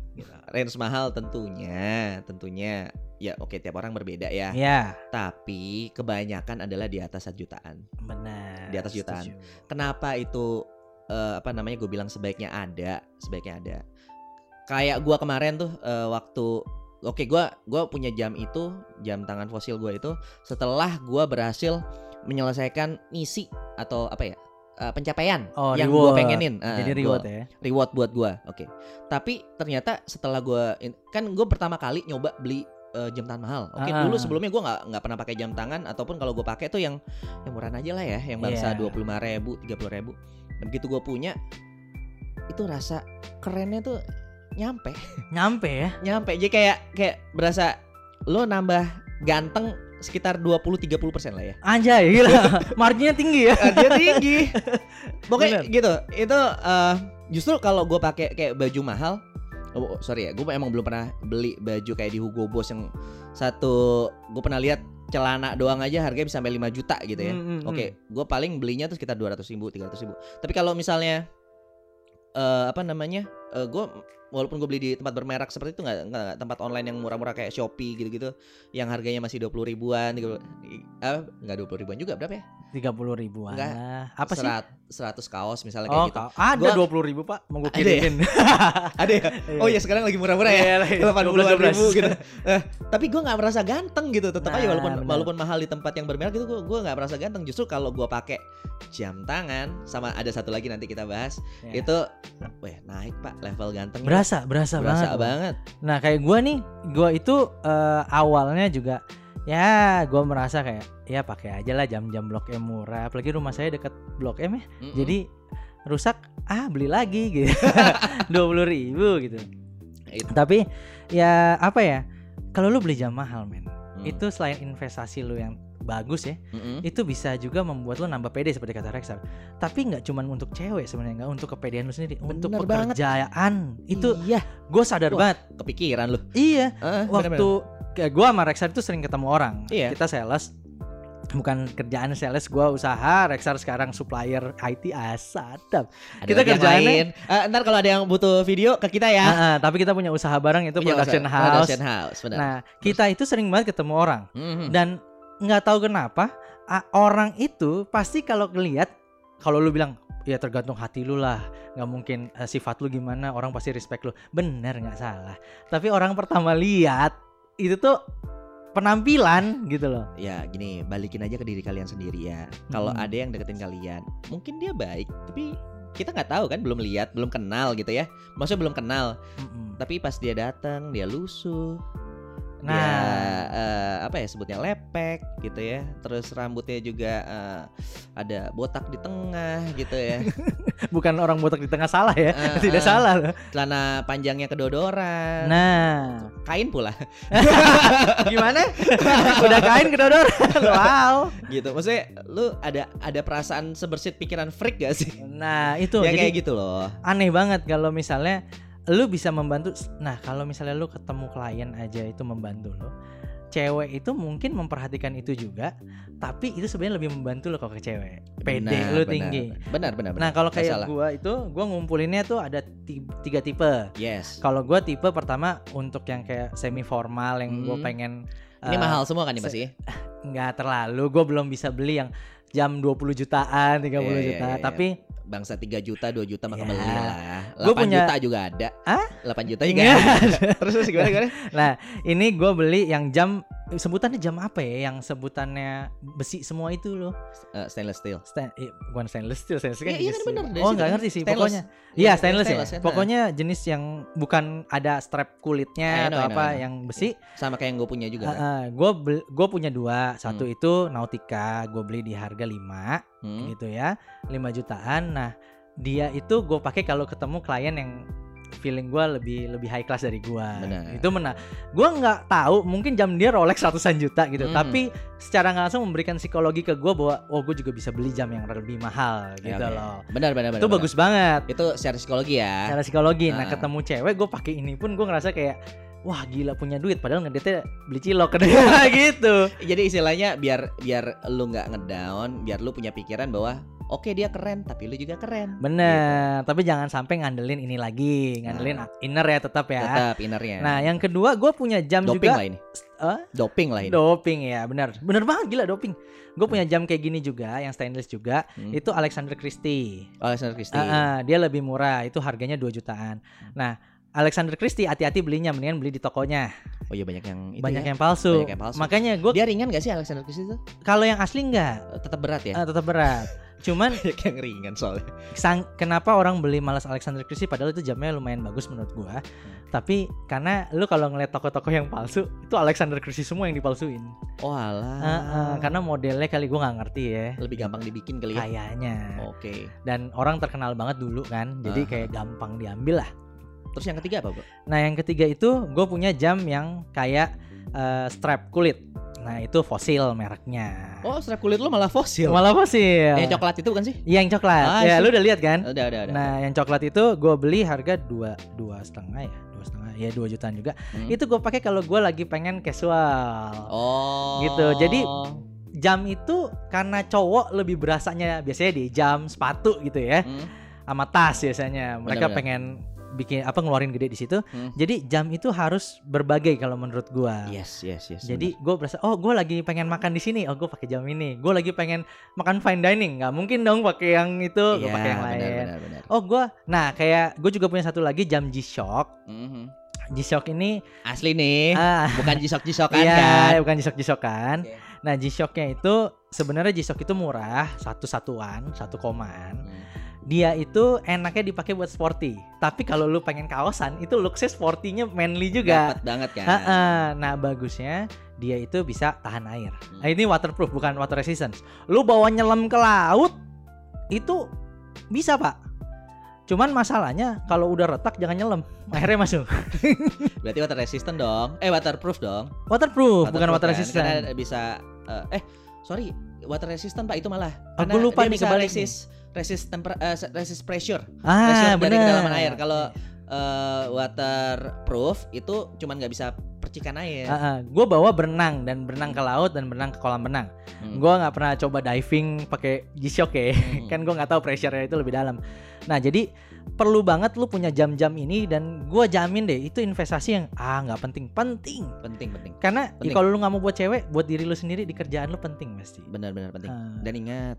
B: range mahal tentunya tentunya ya oke tiap orang berbeda ya
A: Ya,
B: tapi kebanyakan adalah di atas 1 jutaan
A: benar.
B: Di atas jutaan.
A: Setuju.
B: kenapa itu eh, apa namanya gue bilang sebaiknya ada sebaiknya ada kayak gua kemarin tuh eh, waktu oke gua gua punya jam itu jam tangan fosil gua itu setelah gua berhasil menyelesaikan misi atau apa ya eh, pencapaian
A: Oh,
B: yang
A: reward.
B: gua pengenin Eh,
A: Jadi
B: gua-
A: reward ya.
B: reward buat gua oke tapi ternyata setelah gua in- kan gue pertama kali nyoba beli eh, jam tangan mahal oke
A: Ah.
B: dulu sebelumnya gua nggak nggak pernah pakai jam tangan ataupun kalau gue pakai tuh yang yang murah aja lah ya yang bangsa
A: Iya.
B: dua puluh ribu tiga ribu dan begitu gue punya itu rasa kerennya tuh nyampe
A: Nyampe ya.
B: nyampe jadi kayak kayak berasa lo nambah ganteng sekitar 20-30 persen lah ya
A: Anjay, gila. Marginnya tinggi ya.
B: dia tinggi pokoknya
A: Bener.
B: gitu itu eh, justru kalau gue pakai kayak baju mahal oh, sorry ya gue emang belum pernah beli baju kayak di Hugo Boss yang satu gue pernah lihat celana doang aja harganya bisa sampai 5 juta gitu ya
A: Mm, mm, mm.
B: Oke, gue paling belinya tuh sekitar 200 ribu, 300 ribu. Tapi kalau misalnya eh apa namanya, eh gue walaupun gue beli di tempat bermerek seperti itu nggak nggak- nggak tempat online yang murah-murah kayak Shopee gitu-gitu, yang harganya masih 20 ribuan, 30, eh, nggak 20 ribuan juga berapa ya?
A: 30 ribuan
B: Enggak.
A: lah. Apa sih?
B: 100 kaos misalnya
A: Oh,
B: kayak gitu.
A: kau- ada
B: Gua-
A: 20 ribu pak, mau gue
B: Ada ya?
A: kirimin.
B: Ada ya? Oh iya sekarang lagi murah-murah ya.
A: iya,
B: Delapan ribu gitu. Eh, tapi gue nggak merasa ganteng gitu. Tetap aja
A: Nah,
B: walaupun
A: benar.
B: walaupun mahal di tempat yang bermerek itu gue gue nggak merasa ganteng. Justru kalau gue pakai jam tangan sama ada satu lagi nanti kita bahas
A: Ya.
B: itu, weh naik pak level ganteng.
A: Berasa, berasa,
B: Berasa banget.
A: banget. Nah kayak gua nih, gua itu eh, awalnya juga ya gua merasa kayak ya pakai aja lah jam-jam blok M murah. Apalagi rumah saya dekat blok M ya,
B: Mm-mm.
A: jadi rusak ah beli lagi gitu, dua ribu gitu.
B: Itu.
A: Tapi ya apa ya? Kalau lu beli jam mahal, men,
B: Hmm.
A: itu selain investasi lu yang bagus ya,
B: Mm-mm.
A: itu bisa juga membuat lu nambah pede seperti kata Rexar. Tapi nggak cuma untuk cewek sebenarnya, nggak untuk kepedean lu sendiri, untuk
B: Bener banget.
A: pekerjaan. Itu
B: iya
A: gue sadar
B: Wah.
A: banget.
B: kepikiran lu.
A: Iya,
B: Heeh.
A: waktu kayak gua sama Rexar itu sering ketemu orang.
B: Iya.
A: Kita sales bukan kerjaan sales gua usaha Rexar sekarang supplier IT asadap
B: Ada lagi
A: kita
B: yang
A: kerjaannya-
B: lain. Eh, ntar kalau ada yang butuh video ke kita ya.
A: Ah, ah, tapi kita punya usaha bareng itu
B: Punya
A: production
B: usaha-
A: house
B: Production house, benar.
A: nah kita itu sering banget ketemu orang
B: Mhm.
A: dan nggak tahu kenapa a- orang itu pasti kalau ngelihat kalau lu bilang ya tergantung hati lu lah nggak mungkin eh, sifat lu gimana orang pasti respect lu bener nggak salah tapi orang pertama lihat itu tuh penampilan gitu loh
B: Ya gini, balikin aja ke diri kalian sendiri ya. Kalau
A: Mhm.
B: ada yang deketin kalian, mungkin dia baik, tapi kita nggak tahu kan, belum lihat, belum kenal gitu ya. Maksudnya belum kenal.
A: Mm-mm.
B: tapi pas dia datang dia lusuh nah dia,
A: nah
B: eh, apa ya sebutnya lepek gitu ya terus rambutnya juga eh, ada botak di tengah gitu ya
A: bukan orang botak di tengah salah ya
B: Eh, eh,
A: tidak salah loh.
B: celana panjangnya kedodoran
A: nah
B: kain pula
A: gimana udah kain kedodoran wow
B: gitu maksudnya lu ada ada perasaan sebersit pikiran freak gak sih
A: nah itu
B: ya
A: jadi
B: kayak gitu loh
A: aneh banget kalau misalnya lu bisa membantu nah kalau misalnya lu ketemu klien aja itu membantu lu cewek itu mungkin memperhatikan itu juga tapi itu sebenarnya lebih membantu lo kalau ke cewek pede
B: Benar,
A: lu
B: benar,
A: tinggi
B: benar benar benar
A: nah kalau
B: Nggak salah.
A: kayak gua itu gua ngumpulinnya tuh ada ti- tiga tipe
B: yes
A: kalau gua tipe pertama untuk yang kayak semi formal yang gua
B: Hmm.
A: pengen
B: ini
A: eh,
B: mahal semua kan nih
A: se-
B: pasti
A: nggak terlalu gua belum bisa beli yang jam 20 jutaan 30
B: Iya, iya,
A: juta
B: iya, iya.
A: tapi
B: bangsa 3 juta 2 juta maka
A: Ya.
B: beli lah 8
A: Gua punya-
B: juta juga ada
A: Hah? Iya.
B: 8 juta juga
A: Nggak
B: ada. terus terus gimana gimana
A: Ini gue beli yang jam sebutannya jam apa ya? Yang sebutannya besi semua itu loh.
B: Eh, stainless steel
A: Stain, eh, bukan stainless steel, stainless steel
B: Iya,
A: kan
B: iya,
A: jenis-
B: bener, dari
A: Oh
B: situ
A: nggak
B: kan.
A: ngerti sih
B: Stainless.
A: pokoknya. Iya stainless, ya.
B: kan?
A: Pokoknya jenis yang bukan ada strap kulitnya
B: I know,
A: atau
B: I know,
A: apa
B: I know.
A: yang besi.
B: sama kayak yang gue punya
A: Ah,
B: juga. Hmm. kan?
A: gue gue punya dua. Satu itu Nautica, gue beli di harga 5
B: Hmm.
A: gitu ya, 5 jutaan. Nah dia itu gue pakai kalau ketemu klien yang feeling gue lebih lebih high class dari gue
B: Benar.
A: itu mena gue nggak tahu mungkin jam dia Rolex ratusan juta gitu
B: Hmm.
A: tapi secara nggak langsung memberikan psikologi ke gue bahwa oh gue juga bisa beli jam yang lebih mahal
B: Ya,
A: gitu
B: oke.
A: loh
B: Benar benar benar.
A: itu
B: benar.
A: bagus banget
B: Itu secara psikologi ya.
A: secara psikologi nah
B: Ah.
A: ketemu cewek gue pakai ini pun gue ngerasa kayak wah gila punya duit padahal ngedetnya beli cilok gitu
B: Jadi istilahnya biar biar lu nggak ngedown, biar lu punya pikiran bahwa oke dia keren tapi lu juga keren.
A: bener
B: Gitu.
A: tapi jangan sampai ngandelin ini lagi ngandelin inner ya tetap ya
B: Nah. Tetap innernya.
A: Nah, yang kedua gue punya jam
B: Iya. doping
A: juga
B: lah ini.
A: Eh?
B: Doping lah ini.
A: doping ya, benar. Benar banget gila doping. Gue punya jam kayak gini juga, yang stainless juga.
B: Hmm. Iya.
A: Itu Alexander Christie.
B: Alexander Christie.
A: Ah, ah, dia lebih murah, itu harganya 2 jutaan.
B: Hmm.
A: Nah, Alexander Christie hati-hati belinya, mendingan beli di tokonya.
B: Oh iya banyak yang itu
A: banyak
B: ya.
A: yang palsu.
B: Banyak yang palsu.
A: Makanya gue
B: Dia ringan gak sih Alexander Christie itu?
A: kalau yang asli enggak,
B: Tetap berat ya.
A: ah, tetap berat. Cuman
B: Banyak yang ringan soalnya.
A: sang, kenapa orang beli malas Alexander Christie padahal itu jamnya lumayan bagus menurut gua.
B: Hmm.
A: Tapi karena lu kalau ngeliat toko-toko yang palsu, itu Alexander Christie semua yang dipalsuin.
B: Oh alah.
A: Ah, ah, karena modelnya kali gue nggak ngerti ya
B: lebih gampang dibikin kali ya.
A: kayaknya
B: Oke.
A: dan orang terkenal banget dulu kan jadi
B: Ah.
A: kayak gampang diambil lah
B: Terus yang ketiga apa, Bro?
A: nah yang ketiga itu gue punya jam yang kayak eh, strap kulit nah itu fosil mereknya
B: Oh, strap kulit lu malah fosil.
A: malah fosil
B: Yang coklat itu bukan sih?
A: Iya, yang coklat
B: Ah, sih.
A: ya
B: Eh,
A: lu udah lihat kan
B: Udah, udah, udah.
A: nah yang coklat itu gue beli harga dua dua setengah ya dua setengah ya dua jutaan juga
B: Hmm.
A: itu gue pakai kalau gue lagi pengen casual
B: Oh. Hmm.
A: Gitu, jadi- jam itu karena cowok lebih berasanya biasanya di jam sepatu gitu ya
B: Hmm,
A: sama tas biasanya. Mereka
B: Benar-benar.
A: pengen bikin apa ngeluarin gede di situ.
B: Hmm. Iya,
A: Jadi jam itu harus berbagai kalau menurut gua.
B: Yes, yes, yes.
A: Jadi gue berasa, oh gue lagi pengen makan di sini, oh gue pakai jam ini. Gue lagi pengen makan fine dining, nggak mungkin dong pakai yang itu,
B: benar.
A: gue
B: Iya,
A: pakai yang lain.
B: benar, benar, benar.
A: Oh gue, nah kayak gue juga punya satu lagi jam G-Shock.
B: Mhm.
A: G-Shock ini,
B: Asli nih,
A: ah,
B: bukan jisok-jisokan Eh, kan? Iya.
A: iya bukan G-Shock G-Shockan.
B: Oke.
A: Nah G-Shocknya itu sebenarnya G-Shock itu murah, satu satuan, satu komaan.
B: Hmm.
A: dia itu enaknya dipakai buat sporty. Tapi kalau lu pengen kaosan, itu looksnya sportynya manly juga.
B: Dapet banget kan?
A: Heeh. Nah bagusnya dia itu bisa tahan air.
B: Hmm.
A: Nah, ini waterproof bukan water resistance. Lu bawa nyelam ke laut itu bisa pak. Cuman masalahnya kalau udah retak jangan nyelam. Akhirnya masuk.
B: Berarti water resistant dong. Eh waterproof dong.
A: Waterproof, bukan
B: Waterproof
A: water
B: kan?
A: resistant.
B: Karena bisa eh, eh sorry, water resistant Pak itu malah.
A: Aku
B: Karena
A: lupa
B: dia
A: nih
B: bisa
A: kebalik
B: resist resist temper eh, se- resist pressure. pressure
A: Ah,
B: dari
A: benar.
B: kedalaman air. Kalau eh, waterproof itu cuman nggak bisa percikan air.
A: Ah, gue bawa berenang dan berenang ke laut dan berenang ke kolam renang.
B: Hmm.
A: Gue nggak pernah coba diving pakai G-Shock ya.
B: Hmm.
A: kan gue nggak tahu pressure-nya itu lebih dalam. Nah jadi perlu banget lu punya jam-jam ini dan gue jamin deh itu investasi yang ah nggak penting penting
B: penting penting.
A: karena
B: Penting.
A: i- kalau lu nggak mau buat cewek buat diri lu sendiri di kerjaan lu penting pasti.
B: Benar-benar penting.
A: Ah,
B: Dan ingat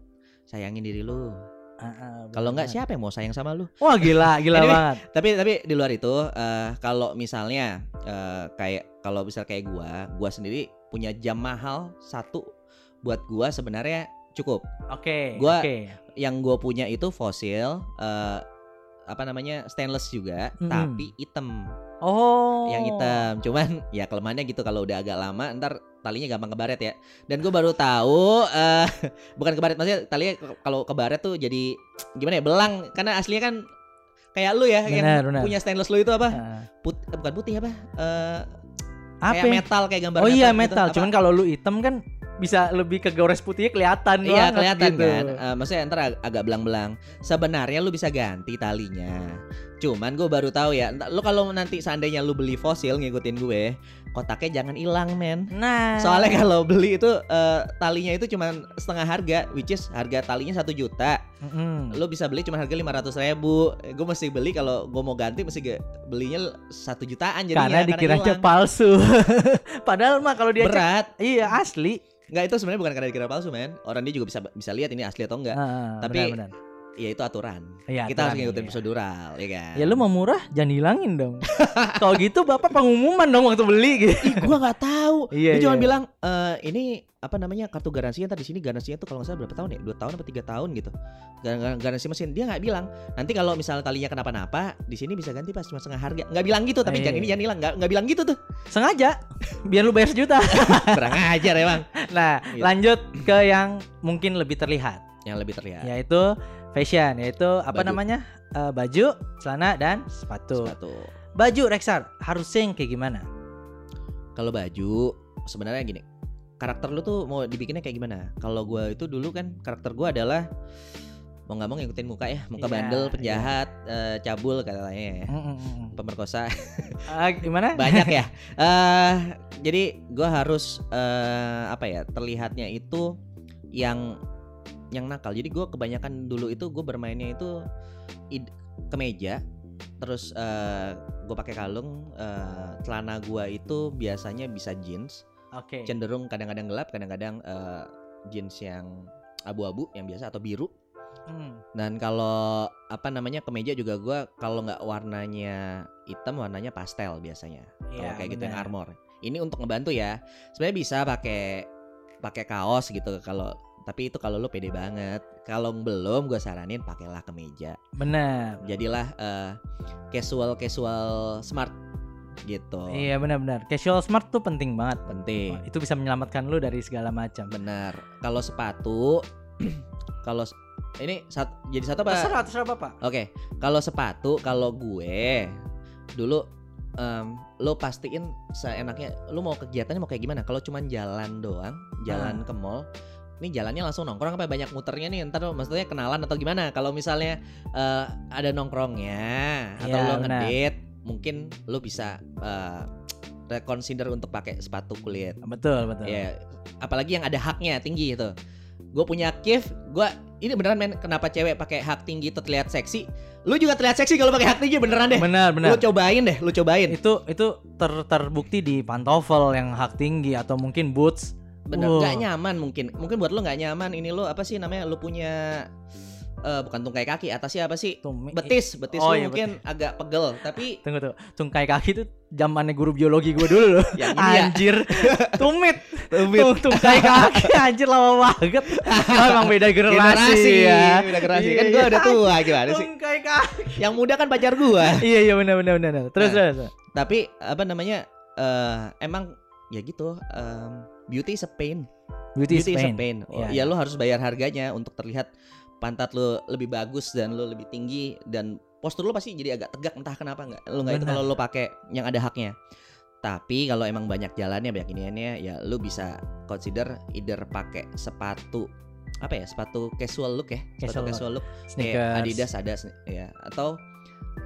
B: sayangin diri lu.
A: ah, ah,
B: Kalau
A: bener
B: nggak siapa yang mau sayang sama lu?
A: banget. wah gila gila
B: Anyway.
A: banget.
B: tapi tapi di luar itu eh, kalau misalnya eh, kayak kalau misal kayak gua gua sendiri punya jam mahal satu buat gua sebenarnya cukup
A: Oke.
B: Gua-
A: oke.
B: yang gua punya itu fosil eh, apa namanya stainless juga
A: Mm-mm.
B: tapi hitam
A: Oh.
B: yang hitam cuman ya kelemahannya gitu kalau udah agak lama ntar talinya gampang kebaret ya dan gue baru tahu eh bukan kebaret maksudnya talinya ke- kalau kebaret tuh jadi gimana ya belang karena aslinya kan kayak lu ya
A: Benar,
B: yang
A: benar.
B: punya stainless lu itu apa
A: Ah,
B: put eh, bukan putih apa Eh,
A: apa?
B: kayak metal kayak gambar
A: oh iya
B: gitu,
A: metal.
B: apa?
A: Cuman kalau lu hitam kan bisa lebih ke gores putihnya kelihatan
B: iya
A: banget
B: kelihatan
A: gitu.
B: kan Eh, maksudnya ntar ag- agak belang-belang sebenarnya lu bisa ganti talinya cuman gue baru tahu ya ntar- lu kalau nanti seandainya lu beli fosil ngikutin gue kotaknya jangan hilang men
A: Nah.
B: soalnya kan- kalau beli itu eh, talinya itu cuman setengah harga which is harga talinya satu juta
A: Mm-mm.
B: lu bisa beli cuma harga lima ratus ribu gue mesti beli kalau gue mau ganti mesti ge- belinya satu jutaan jadinya
A: karena dikiranya
B: hilang.
A: palsu. Padahal mah kalau dia cek,
B: berat
A: iya asli.
B: Enggak itu sebenarnya bukan karena dikira palsu men Orang dia juga bisa bisa lihat ini asli atau enggak
A: Ah,
B: Iya. Tapi
A: benar, benar.
B: Ya itu aturan
A: Iya,
B: Kita harus
A: aturan,
B: ngikutin
A: iya.
B: prosedural ya kan
A: Ya lu mau murah jangan dihilangin dong. kalau gitu bapak pengumuman dong waktu beli gitu.
B: Ih gua gak tahu
A: Iya,
B: Dia cuma
A: iya.
B: bilang "Eh, Ini apa namanya kartu garansinya tadi sini garansinya tuh kalau nggak salah berapa tahun ya 2 tahun apa 3 tahun gitu Gar- gar- Garansi mesin Dia nggak bilang Nanti kalau misalnya talinya kenapa-napa di sini bisa ganti pas cuma setengah harga Nggak bilang gitu Tapi
A: Iya,
B: jangan ini
A: iya.
B: jangan hilang nggak, nggak bilang gitu tuh
A: Sengaja biar lu bayar sejuta.
B: Kurang ajar emang
A: Nah,
B: Gitu.
A: lanjut ke yang mungkin lebih terlihat
B: Yang lebih terlihat
A: yaitu fashion, yaitu apa
B: Ya. Baju.
A: namanya? Eh, baju, celana dan sepatu.
B: Sepatu
A: Baju Rexar harusnya yang kayak gimana?
B: kalau baju sebenarnya gini karakter lu tuh mau dibikinnya kayak gimana kalau gua itu dulu kan karakter gua adalah mau nggak mau ngikutin muka ya muka
A: Iya,
B: bandel
A: iya.
B: penjahat eh, cabul katanya ya
A: Mm-mm-mm.
B: pemerkosa
A: Ah, gimana?
B: banyak ya eh jadi gua harus eh, apa ya terlihatnya itu yang yang nakal jadi gua kebanyakan dulu itu gue bermainnya itu id- kemeja terus gue pakai kalung eh, celana gua itu biasanya bisa jeans
A: Oke.
B: cenderung kadang-kadang gelap, kadang-kadang eh, jeans yang abu-abu yang biasa atau biru.
A: Hmm.
B: Dan kalau apa namanya kemeja juga gua kalau nggak warnanya hitam warnanya pastel biasanya. Kalau
A: Iya,
B: kayak gitu yang
A: benar.
B: armor. Ini untuk ngebantu ya. Sebenarnya bisa pakai pakai kaos gitu kalau tapi itu kalau lu pede banget. Kalau belum gue saranin pakailah kemeja.
A: Benar.
B: Jadilah eh, casual casual smart gitu.
A: Iya benar-benar. Casual smart tuh penting banget. Iya,
B: Penting.
A: Itu bisa menyelamatkan lu dari segala macam.
B: Benar. Kalau sepatu kalau s- ini sat- jadi satu apa? Oke.
A: Terserah, terserah bapak.
B: Kalau sepatu kalau gue dulu em, lo pastiin seenaknya lo mau kegiatannya mau kayak gimana? Kalau cuman jalan doang,
A: Ah.
B: jalan ke mall ini jalannya langsung nongkrong apa banyak muternya nih ntar maksudnya kenalan atau gimana kalau misalnya eh, ada nongkrongnya atau
A: Iya,
B: lo
A: benar.
B: ngedate mungkin lo bisa eh, reconsider untuk pakai sepatu kulit
A: Betul betul.
B: ya apalagi yang ada haknya tinggi itu gue punya kif gue ini beneran men kenapa cewek pakai hak tinggi itu terlihat seksi lu juga terlihat seksi kalau pakai hak tinggi beneran deh
A: Benar
B: lu
A: benar.
B: cobain deh lu cobain
A: Itu itu ter- terbukti di pantofel yang hak tinggi atau mungkin boots.
B: bener
A: Wow.
B: nggak nyaman mungkin mungkin buat lu nggak nyaman ini lu apa sih namanya lu punya eh bukan tungkai kaki atasnya apa sih
A: Tuh, mi-
B: betis betis
A: Oh,
B: lu
A: iya,
B: mungkin agak pegel tapi
A: Tunggu tuh. Tungkai kaki tuh zamannya guru biologi gue dulu loh.
B: yang ini ya
A: Anjir. Tumit.
B: tumit.
A: Tung, tungkai kaki anjir lama banget. Oh, emang beda generasi, ya.
B: udah generasi kan gue udah tua gimana sih
A: Tungkai kaki.
B: yang muda kan pacar gua
A: iya iya benar benar benar.
B: Nah.
A: Terus terus.
B: tapi apa namanya eh, emang ya gitu em, beauty is a pain beauty
A: Beauty, is
B: is a
A: pain.
B: pain Oh, ya
A: Iya.
B: lu harus bayar harganya untuk terlihat pantat lu lebih bagus dan lu lebih tinggi dan postur lo pasti jadi agak tegak entah kenapa nggak lo nggak itu
A: Benar.
B: kalau lo pakai yang ada haknya tapi kalau emang banyak jalannya banyak iniannya ya lo bisa consider either pakai sepatu apa ya sepatu casual look ya sepatu
A: Casual look.
B: casual look
A: sneakers.
B: kayak Iya, Adidas ada sne- ya atau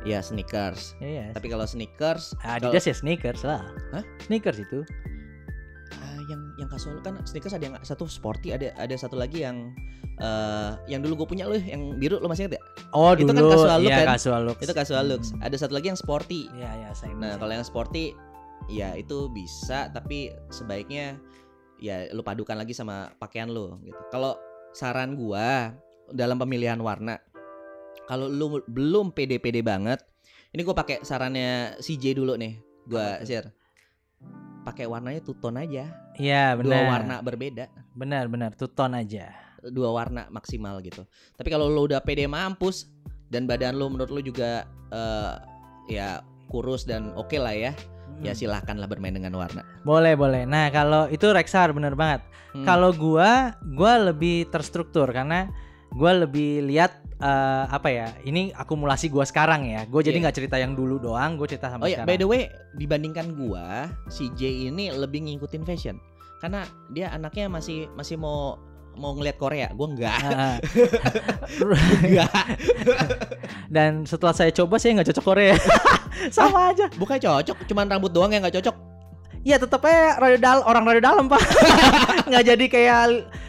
B: ya sneakers
A: Iya.
B: tapi kalau sneakers
A: Adidas ya sneakers lah.
B: Hah?
A: Sneakers itu.
B: Ah, yang yang casual kan sneakers ada yang satu sporty ada ada satu lagi yang eh yang dulu gue punya loh yang biru lo masih inget ya
A: Oh,
B: Itu kan
A: dulu.
B: casual look
A: Iya,
B: kan?
A: casual looks.
B: itu casual looks
A: Hmm.
B: ada satu lagi yang sporty
A: Iya, iya, saya.
B: nah
A: ingat.
B: kalau yang sporty ya itu bisa tapi sebaiknya ya lo padukan lagi sama pakaian lo gitu kalau saran gua dalam pemilihan warna kalau lu belum pede-pede banget ini gue pakai sarannya CJ dulu nih gua
A: Apa tuh?
B: share pakai warnanya two tone aja
A: Iya, benar.
B: dua warna berbeda
A: Benar, benar. Tuton aja.
B: dua warna maksimal gitu. Tapi kalau lo udah pede mampus dan badan lo menurut lo juga eh, ya kurus dan oke lah ya, ya
A: Hmm.
B: silahkanlah bermain dengan warna.
A: Boleh, boleh. Nah, kalau itu Rexar benar banget.
B: Hmm.
A: Kalau gua, gua lebih terstruktur karena gua lebih lihat eh, apa ya? Ini akumulasi gua sekarang ya. Gua jadi
B: Iya.
A: nggak cerita yang dulu doang, gua cerita
B: Oh
A: sampai
B: ya,
A: sekarang.
B: by the way, dibandingkan gua, si J ini lebih ngikutin fashion karena dia anaknya masih masih mau mau ngelihat Korea, gua enggak.
A: Ah, ah.
B: Enggak.
A: Dan setelah saya coba saya nggak cocok Korea. Sama aja.
B: Bukan cocok, cuman rambut doang yang nggak cocok.
A: Iya tetep aja radio dal- orang radio dalam pak. nggak jadi kayak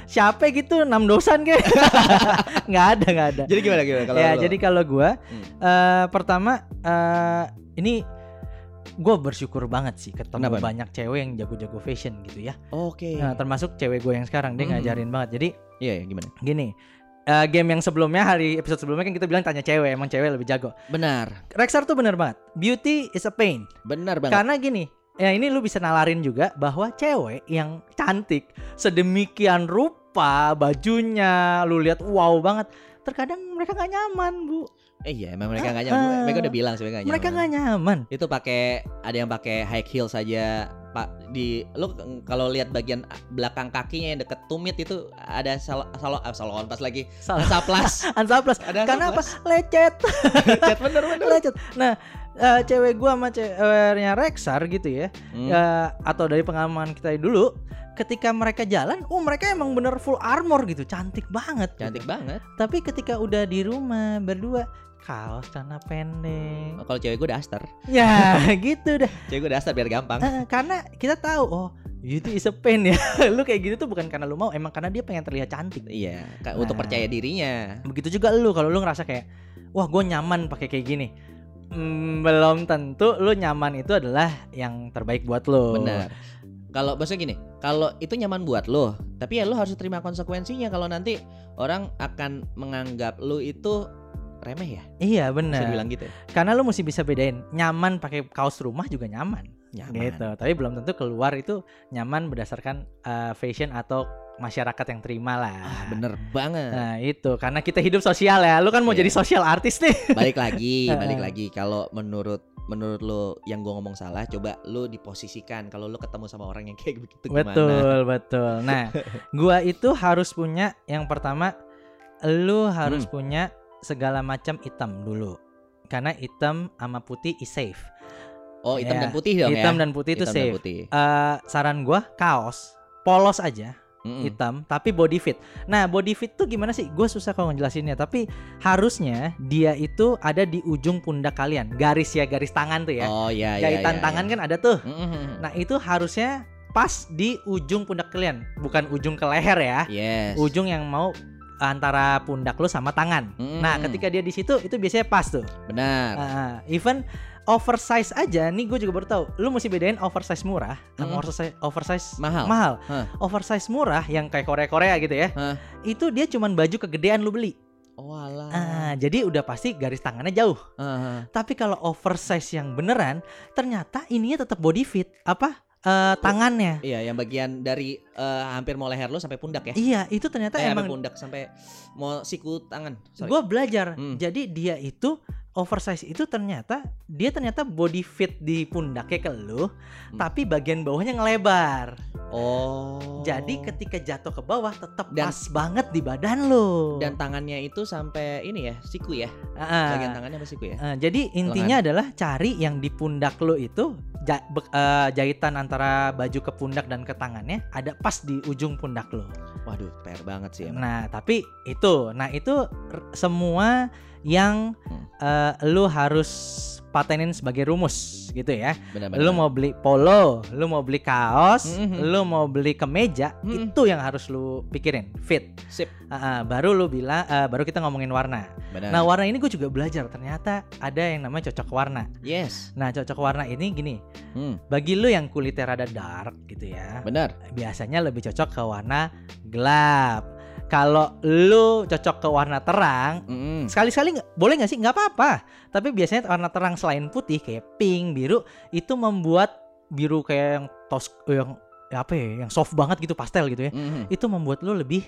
A: siapa gitu enam dosan kayak. nggak ada nggak ada.
B: Jadi gimana gimana kalau
A: ya
B: lo?
A: jadi kalau gua
B: Hmm.
A: eh, pertama eh, ini gue bersyukur banget sih ketemu
B: Kenapa nih?
A: banyak cewek yang jago-jago fashion gitu ya.
B: oke.
A: Nah, termasuk cewek gue yang sekarang dia
B: Hmm.
A: ngajarin banget. Jadi
B: Iya, iya, gimana?
A: gini eh, game yang sebelumnya hari episode sebelumnya kan kita bilang tanya cewek emang cewek lebih jago.
B: Benar.
A: Rexar tuh bener banget. Beauty is a pain.
B: Benar banget.
A: Karena gini, ya ini lu bisa nalarin juga bahwa cewek yang cantik sedemikian rupa bajunya, lu lihat wow banget. Terkadang mereka nggak nyaman, Bu.
B: Eh iya, emang mereka nggak nyaman.
A: Ah,
B: Mereka udah bilang sih mereka nggak
A: Mereka
B: nyaman.
A: nggak nyaman.
B: itu pakai ada yang pakai high heels saja pak di lo k- kalau lihat bagian a- belakang kakinya yang deket tumit itu ada salon salon ah, salon pas lagi
A: Salah.
B: saplas
A: Ansa plus.
B: ada
A: Karena apa? Lecet,
B: cat bener bener
A: lecet. Nah, eh, cewek gua sama ceweknya Rexar gitu ya.
B: Hmm,
A: Eh, atau dari pengalaman kita dulu, ketika mereka jalan, oh mereka emang bener full armor gitu, cantik banget. gitu.
B: cantik banget
A: Tapi ketika udah di rumah berdua, kaos celana pendek,
B: Oh, kalau cewek gue daster
A: Ya gitu dah
B: cewek gue daster biar gampang
A: Eh, Karena kita tahu Oh beauty is a pain ya Lu kayak gitu tuh bukan karena lu mau Emang karena dia pengen terlihat cantik
B: iya ka- untuk
A: Nah.
B: percaya dirinya
A: Begitu juga lu Kalau lu ngerasa kayak Wah gue nyaman pakai kayak gini Hmm, Belum tentu Lu nyaman itu adalah Yang terbaik buat lu
B: benar kalau maksudnya gini kalau itu nyaman buat lo tapi ya lo harus terima konsekuensinya kalau nanti orang akan menganggap lo itu remeh ya
A: Iya
B: bisa
A: benar
B: dibilang gitu ya?
A: Karena lu mesti bisa bedain Nyaman pakai kaos rumah juga nyaman,
B: nyaman
A: Gitu Tapi belum tentu keluar itu Nyaman berdasarkan eh, Fashion atau Masyarakat yang terima lah
B: Ah, bener banget
A: Nah itu karena kita hidup sosial ya. Lu kan mau
B: Iya.
A: jadi sosial artis nih.
B: balik lagi
A: Heeh.
B: balik lagi kalau menurut menurut lo yang gue ngomong salah coba lo diposisikan kalau lo ketemu sama orang yang kayak begitu gimana
A: betul betul. Nah gua itu harus punya yang pertama lu harus
B: Hmm.
A: punya segala macam item dulu. Karena item sama putih is safe.
B: oh hitam
A: Ya,
B: dan putih dong
A: hitam
B: ya
A: dan putih itu
B: Hitam
A: safe.
B: putih
A: Eh, saran gua kaos polos aja
B: Mm-mm.
A: hitam tapi body fit. Nah, body fit tuh gimana sih? Gue susah kalau ngejelasinnya, tapi harusnya dia itu ada di ujung pundak kalian. Garis ya, garis tangan tuh ya.
B: oh ya ya ya,
A: Jahitan tangan
B: ya.
A: kan ada tuh.
B: Mm-mm.
A: Nah itu harusnya pas di ujung pundak kalian, bukan ujung ke leher ya,
B: yes
A: ujung yang mau antara pundak lu sama tangan.
B: Mm-mm.
A: Nah ketika dia di situ itu biasanya pas tuh.
B: benar
A: Ah, even oversize aja, nih gue juga baru tahu. Lu mesti bedain oversize murah
B: Mm.
A: sama oversize, oversize
B: mahal
A: mahal.
B: Hah.
A: Oversize murah yang kayak Korea Korea gitu ya,
B: Hah.
A: itu dia cuman baju kegedean lu beli.
B: oh alah
A: Ah, jadi udah pasti garis tangannya jauh.
B: Heeh.
A: Tapi kalau oversize yang beneran, ternyata ininya tetap body fit apa eh, tangannya.
B: iya yang bagian dari eh, hampir mau leher lo sampai pundak ya
A: Iya, itu ternyata
B: Eh, sampai
A: emang
B: pundak sampai mau siku tangan Sorry.
A: gue belajar.
B: Hmm.
A: Jadi dia itu oversize itu ternyata dia ternyata body fit di pundaknya ke lu,
B: Hmm.
A: tapi bagian bawahnya ngelebar.
B: Oh.
A: Jadi ketika jatuh ke bawah tetap
B: Dan-
A: pas banget di badan lo.
B: dan tangannya itu sampai ini ya, siku ya.
A: Ah,
B: Bagian tangannya apa siku ya?
A: ah, jadi intinya adalah cari yang di pundak lo itu ja- be- eh, jahitan antara baju ke pundak dan ke tangannya ada pas di ujung pundak lo.
B: Waduh, PR banget sih emang.
A: Nah, tapi itu, nah itu r- semua yang
B: Hmm.
A: eh, lu harus patenin sebagai rumus gitu ya.
B: Benar-benar.
A: Lu mau beli polo, lu mau beli kaos,
B: Mhm.
A: lu mau beli kemeja,
B: Mhm.
A: itu yang harus lu pikirin, fit.
B: sip. Ya.
A: Ah, ah, baru lu bilang eh, baru kita ngomongin warna.
B: Benar.
A: Nah, warna ini gue juga belajar ternyata ada yang namanya cocok warna.
B: yes.
A: Nah, cocok warna ini gini,
B: Hmm,
A: bagi lu yang kulitnya rada dark gitu ya
B: benar.
A: biasanya lebih cocok ke warna gelap. Kalau lu cocok ke warna terang,
B: Mm-mm.
A: sekali-sekali nggak- boleh nggak sih? Nggak apa-apa. Tapi biasanya warna terang selain putih kayak pink, biru itu membuat biru kayak yang tos yang ya apa ya, yang soft banget gitu pastel gitu ya.
B: Mm-mm.
A: Itu membuat lu lebih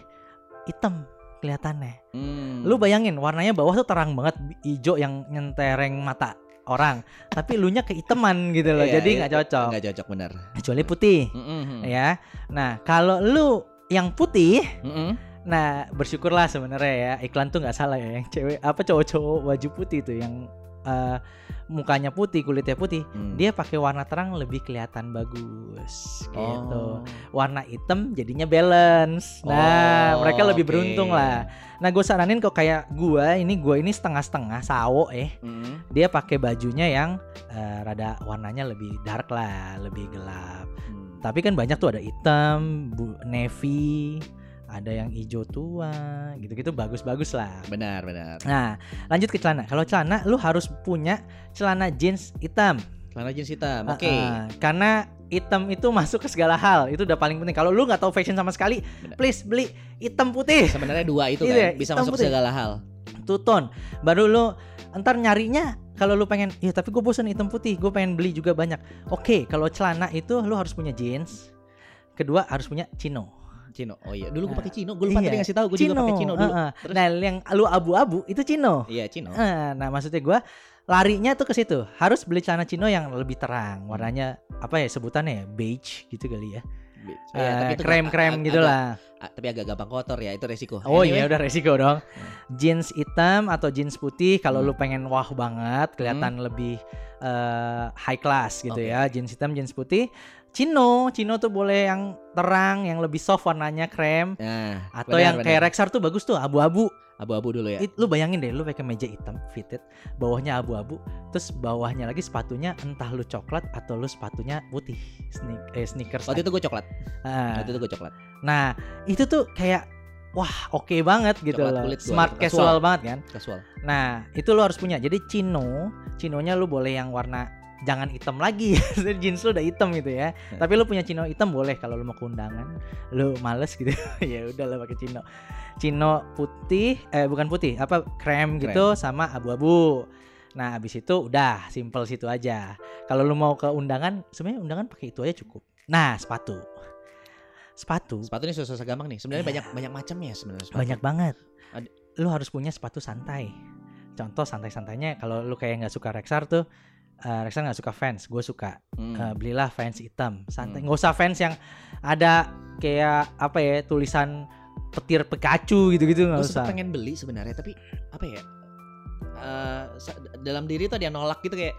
A: hitam kelihatannya.
B: Mm.
A: Lu bayangin warnanya bawah tuh terang banget bi- hijau yang nyentereng mata orang, tapi lu nya kehitaman gitu loh.
B: Iya,
A: jadi
B: iya,
A: nggak cocok.
B: Nggak cocok benar.
A: Kecuali putih
B: Mm-mm.
A: ya. Nah, kalau lu yang putih,
B: Mm-mm.
A: nah bersyukurlah sebenarnya ya. Iklan tuh nggak salah ya yang cewek apa cowok-cowok baju putih tuh yang eh, mukanya putih, kulitnya putih,
B: Mm.
A: dia pakai warna terang lebih kelihatan bagus
B: Oh.
A: gitu. Warna hitam jadinya balance. Nah,
B: Oh,
A: mereka lebih
B: oke.
A: beruntung lah. Nah, gue saranin kok kayak gua ini gua ini setengah-setengah sawo eh.
B: Mm.
A: Dia pakai bajunya yang eh, rada warnanya lebih dark lah, lebih gelap.
B: Mm.
A: Tapi kan banyak tuh ada hitam, bu- navy, ada yang hijau tua, gitu-gitu bagus-bagus lah.
B: Benar, benar.
A: Nah, lanjut ke celana. Kalau celana, lu harus punya celana jeans hitam.
B: Celana jeans hitam. Oke.
A: Ah, ah. karena hitam itu masuk ke segala hal. Itu udah paling penting. Kalau lu nggak tahu fashion sama sekali,
B: Benar.
A: please beli hitam putih,
B: Sebenarnya dua itu kan
A: Iya,
B: bisa
A: hitam
B: masuk
A: putih.
B: segala hal.
A: two tone. Baru lu ntar nyarinya kalau lu pengen, ya tapi gue bosen hitam putih, gue pengen beli juga banyak. Oke, kalau celana itu lu harus punya jeans. Kedua harus punya chino.
B: Cino. Oh iya, dulu gue
A: Nah,
B: pakai Cino. Gue lupa
A: iya.
B: tadi ngasih tahu gue juga pakai Cino dulu.
A: heeh.
B: Terus?
A: Nah, yang lu abu-abu itu Cino.
B: Iya, Cino.
A: Eh, nah, maksudnya gua larinya tuh ke situ. Harus beli celana Cino yang lebih terang, warnanya apa ya sebutannya ya? Beige gitu kali ya.
B: Iya, tapi
A: Eh,
B: itu
A: krem-krem
B: ag-
A: gitu
B: agak-
A: lah.
B: Ah, tapi agak gampang kotor ya, itu resiko.
A: Oh
B: Anyway,
A: iya udah resiko dong. Jeans hitam atau jeans putih kalau
B: Hmm.
A: lu pengen wah banget, kelihatan lebih eh, high class gitu
B: Oke.
A: ya. Jeans hitam, jeans putih. Cino, Cino tuh boleh yang terang, yang lebih soft warnanya krem
B: Nah,
A: atau
B: benar,
A: yang
B: benar.
A: kayak Rexar tuh bagus tuh abu-abu.
B: abu-abu dulu ya.
A: It- lu bayangin deh lu pakai meja hitam fitted bawahnya abu-abu terus bawahnya lagi sepatunya entah lu coklat atau lu sepatunya putih sneak eh, sneakers
B: Waktu itu gue coklat.
A: Ah.
B: Waktu itu gue coklat.
A: nah itu tuh kayak wah oke banget gitu
B: Coklat
A: loh
B: kulit gua,
A: smart
B: coklat
A: casual banget kan
B: Casual.
A: nah itu lu harus punya jadi chino chinonya lu boleh yang warna jangan hitam lagi Jadi jeans lu udah hitam gitu ya
B: Hmm.
A: tapi lu punya chino hitam boleh kalau lu mau ke undangan lu males gitu ya udah lah pakai chino chino putih eh bukan putih apa krem gitu sama abu-abu nah abis itu udah simple situ aja kalau lu mau ke undangan sebenarnya undangan pakai itu aja cukup nah sepatu sepatu
B: Sepatu ini susah-susah gampang nih. Sebenarnya
A: Iya.
B: banyak banyak macamnya sebenarnya sepatu.
A: banyak banget
B: Ad-
A: lu harus punya sepatu santai contoh santai-santainya kalau lu kayak nggak suka Rexar tuh eh, Rexar nggak suka fans gue suka
B: Hmm.
A: Eh, belilah fans hitam
B: Hmm.
A: santai nggak usah fans yang ada kayak apa ya tulisan petir Pikachu gitu-gitu
B: gue
A: nggak usah
B: sempat pengen beli sebenarnya tapi apa ya Eh, sa- dalam diri tuh ada yang nolak gitu kayak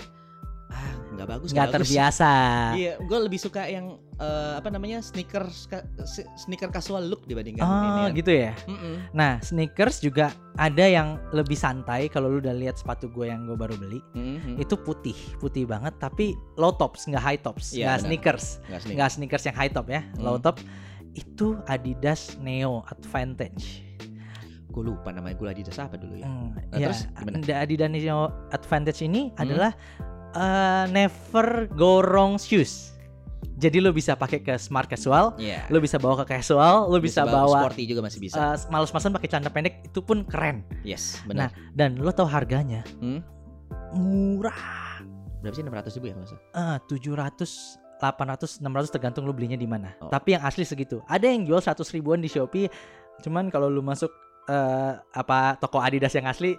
B: ah nggak bagus
A: nggak
B: bagus."
A: terbiasa
B: iya gue lebih suka yang eh, apa namanya sneakers ka- si- sneaker casual look dibandingkan ini
A: oh
B: kan.
A: gitu ya
B: Mm-mm.
A: nah sneakers juga ada yang lebih santai kalau lu udah lihat sepatu gue yang gue baru beli
B: Mm-mm.
A: itu putih putih banget tapi low tops nggak high tops
B: Iya,
A: nggak
B: benar.
A: sneakers
B: nggak sneak-
A: nggak sneakers yang high top ya, low
B: Hmm.
A: top itu Adidas Neo Advantage.
B: gue lupa namanya gue Adidas apa dulu ya
A: Hmm,
B: Nah,
A: ya,
B: terus gimana?
A: Ad- Adidas Neo Advantage ini
B: Hmm.
A: adalah eh, never go wrong shoes. Jadi lo bisa pakai ke smart casual,
B: Iya.
A: lo bisa bawa ke casual, lo bisa,
B: bawa-
A: bawa
B: sporty juga masih bisa
A: eh, malas-malasan pakai celana pendek itu pun keren
B: yes
A: nah.
B: benar
A: dan lo tahu harganya
B: Hmm.
A: murah
B: berapa sih enam ratus ribu ya nggak usah
A: Eh, tujuh ratus 800, 600 tergantung lo belinya di mana.
B: Oh.
A: Tapi yang asli segitu. Ada yang jual 100 ribuan di Shopee. Cuman kalau lu masuk eh, apa toko Adidas yang asli,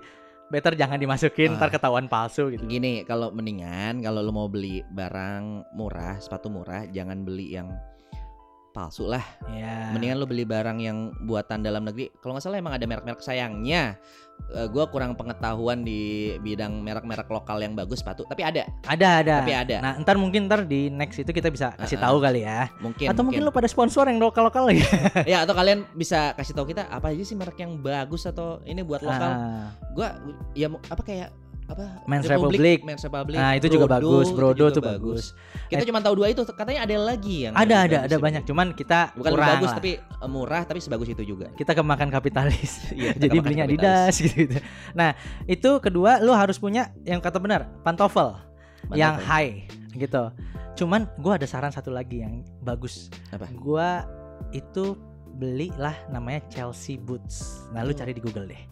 A: better jangan dimasukin,
B: Ah.
A: ntar ketahuan palsu gitu.
B: Gini, kalau mendingan kalau lu mau beli barang murah, sepatu murah, jangan beli yang palsu lah.
A: Ya.
B: Mendingan lu beli barang yang buatan dalam negeri. Kalau nggak salah emang ada merek-merek sayangnya. Eh, gua kurang pengetahuan di bidang merek-merek lokal yang bagus sepatu, tapi ada,
A: ada ada.
B: tapi ada.
A: Nah, ntar mungkin ntar di next itu kita bisa kasih
B: Ah,
A: tahu kali ya.
B: Mungkin
A: Atau mungkin lu pada sponsor yang lokal-lokal ya.
B: ya atau kalian bisa kasih tahu kita apa aja sih merek yang bagus atau ini buat lokal.
A: Ah,
B: Gua ya mau- apa kayak apa
A: Men's Republic.
B: Men's Republic.
A: Nah, itu juga
B: Brodo,
A: bagus.
B: itu
A: Brodo
B: juga
A: tuh bagus. Eh.
B: Kita cuma tahu dua itu, katanya ada lagi yang
A: Ada
B: lebih
A: ada
B: bagus
A: ada
B: itu.
A: banyak. Cuman kita
B: Bukan lebih
A: kurang
B: bagus
A: lah.
B: tapi eh, murah tapi sebagus itu juga.
A: kita kemakan kapitalis.
B: Iya, kita
A: Jadi
B: makan
A: belinya
B: kapitalis.
A: Adidas gitu-gitu. Nah, itu kedua lu harus punya yang kata benar, pantofel
B: Mantap,
A: yang
B: Pak.
A: high gitu. Cuman gua ada saran satu lagi yang bagus.
B: Apa?
A: Gua itu belilah namanya Chelsea Boots. Nah, lu
B: Oh.
A: cari di Google deh.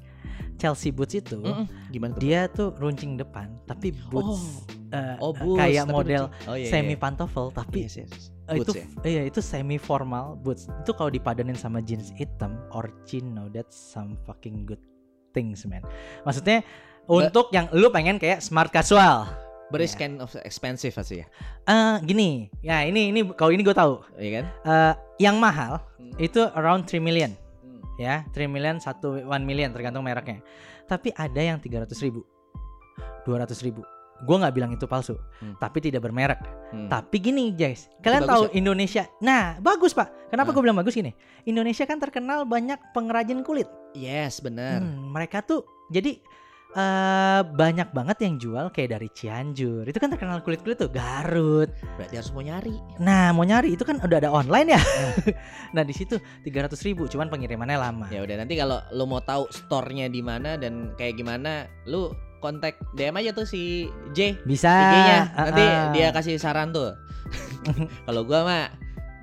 A: Chelsea Boots itu
B: Mm-mm. gimana tuh?
A: dia tuh runcing depan tapi boots eh,
B: Oh,
A: eh,
B: boots,
A: kayak
B: tapi
A: model
B: lucu. Oh, iya, iya.
A: semi pantofel tapi
B: Yes, yes, yes.
A: eh, itu
B: Boots ya?
A: iya itu semi formal boots itu kalau dipadanin sama jeans hitam orchino that's some fucking good things man maksudnya untuk yang lu pengen kayak smart casual
B: But it's
A: Iya.
B: kind of expensive sih ya.
A: eh gini ya ini ini kalau ini gue tahu
B: Iya kan?
A: Eh, yang mahal
B: Hmm.
A: itu around 3 million
B: Hmm.
A: ya 3 million 1 1 million tergantung mereknya tapi ada yang 300 ribu 200 ribu gue nggak bilang itu palsu
B: Hmm.
A: tapi tidak bermerek
B: Hmm.
A: tapi gini guys kalian
B: bagus ya?
A: tahu Indonesia nah bagus pak kenapa
B: Ah.
A: gue bilang bagus gini Indonesia kan terkenal banyak pengrajin kulit
B: Yes, benar.
A: Hmm, mereka tuh jadi eh banyak banget yang jual kayak dari Cianjur itu kan terkenal kulit-kulit tuh Garut
B: Berarti harus mau nyari.
A: nah mau nyari itu kan udah ada online ya
B: Iya.
A: nah di situ 300 ribu cuman pengirimannya lama
B: Ya udah nanti kalau lu mau tahu store-nya di mana dan kayak gimana, lu kontak DM aja tuh si J
A: bisa
B: IG-nya. Nanti
A: ah, ah.
B: dia kasih saran tuh. kalau gua mah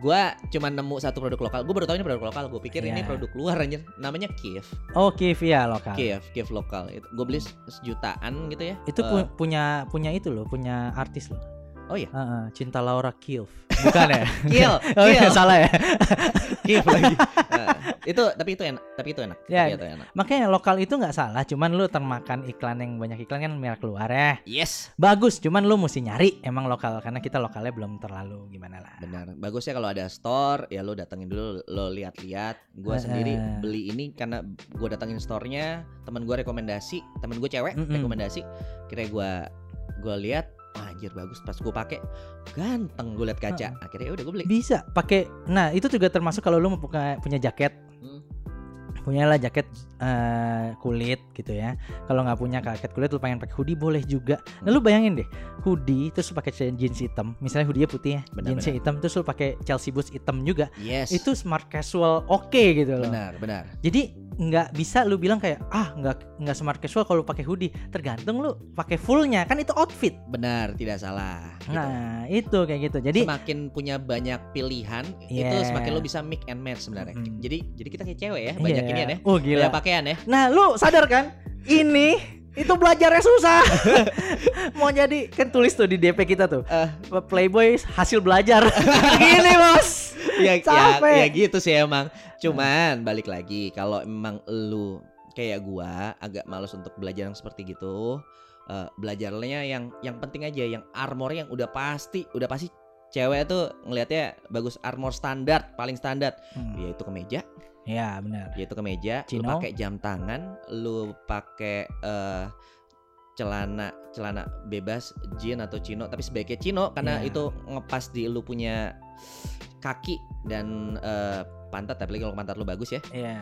B: gua cuma nemu satu produk lokal. Gua baru tahu ini produk lokal. Gua pikir ini
A: Iya.
B: produk luar anjir. Namanya Kiev.
A: Oke via lokal.
B: Kiev, Kiev Iya, lokal. Itu gua beli sejutaan gitu ya.
A: Itu
B: Eh,
A: pu- punya punya itu loh, punya artis loh.
B: Oh iya.
A: Heeh, Cinta Laura Kilf. Bukan ya?
B: Kiel,
A: oh iya,
B: Kiel.
A: salah ya.
B: Kiev lagi. Eh, itu tapi itu enak, tapi itu enak.
A: Ya,
B: Tapi itu enak.
A: Makanya lokal itu nggak salah, cuman lu termakan iklan yang banyak iklan kan merek luar ya.
B: Yes,
A: Bagus, cuman lu mesti nyari emang lokal karena kita lokalnya belum terlalu gimana lah.
B: benar. Bagusnya kalau ada store, ya lo datengin dulu, lo lihat-lihat. Gua
A: Eh,
B: sendiri
A: eh.
B: beli ini karena gua datengin store-nya, teman gua rekomendasi, teman gue cewek
A: Mm-mm.
B: rekomendasi. Kira gua gua lihat, "Wah, anjir bagus pas gua pakai. Ganteng gua liat kaca. Akhirnya udah gua beli.
A: Bisa pakai. Nah, itu juga termasuk kalau lu mau punya, punya jaket.
B: Hmm.
A: Punyalah jaket eh, kulit gitu ya. Kalau nggak punya jaket kulit lu pengen pakai hoodie boleh juga. Nah, lu bayangin deh, hoodie terus lu pakai jeans hitam, misalnya hoodie putih ya,
B: Benar,
A: jeans hitam terus lu pakai Chelsea boots hitam juga.
B: Yes.
A: Itu smart casual oke gitu loh.
B: benar, benar.
A: Jadi nggak bisa lu bilang kayak ah nggak nggak smart casual kalau pakai hoodie. Tergantung lu pakai fullnya kan itu outfit.
B: Benar, tidak salah. Gitu.
A: Nah itu kayak gitu. Jadi
B: semakin punya banyak pilihan itu
A: Yeah.
B: semakin lo bisa mix and match sebenarnya.
A: Mm-mm.
B: Jadi jadi kita kayak cewek ya banyak
A: iya.
B: ini ya.
A: Oh gila.
B: Banyak pakaian ya.
A: Nah lu sadar kan ini itu belajarnya susah. Mau jadi kan tulis tuh di DP kita tuh
B: Eh.
A: Playboy hasil belajar. Gini bos.
B: ya, ya,
A: Capek.
B: ya gitu sih emang. Cuman balik lagi kalau emang lu kayak gua agak males untuk belajar yang seperti gitu. eh, belajarnya yang yang penting aja yang armor yang udah pasti udah pasti cewek tuh ngelihatnya bagus armor standar paling standar
A: Hmm,
B: yaitu kemeja
A: Ya benar.
B: yaitu kemeja lu
A: Chino.
B: pakai jam tangan lu pakai eh, celana celana bebas jean atau chino tapi sebaiknya chino karena
A: Iya.
B: itu ngepas di lu punya kaki dan eh, pantat tapi kalau pantat lu bagus ya
A: Iya.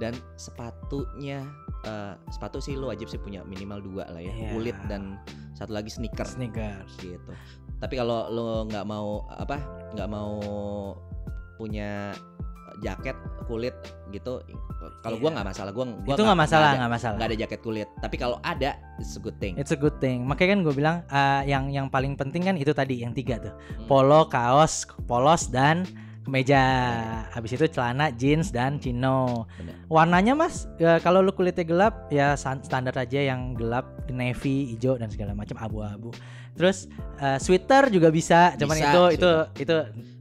B: dan sepatunya eh, sepatu sih lu wajib sih punya minimal dua lah ya
A: Iya.
B: kulit dan satu lagi sneaker
A: Sneakers.
B: gitu tapi kalau lo nggak mau apa nggak mau punya jaket kulit gitu kalau gua
A: Iya.
B: nggak masalah gua gua
A: itu nggak masalah nggak
B: ada,
A: masalah.
B: nggak ada jaket kulit tapi kalau ada it's a good thing
A: It's a good thing. Makanya kan gue bilang eh, yang yang paling penting kan itu tadi yang tiga tuh.
B: Hmm. Iya.
A: Polo, kaos, polos dan kemeja. Habis itu celana, jeans dan chino.
B: Bener.
A: Warnanya Mas, ya, kalau lu kulitnya gelap ya san- standar aja yang gelap, navy, hijau dan segala macam abu-abu. Terus eh, sweater juga bisa, cuman
B: Bisa,
A: itu itu
B: sweater.
A: itu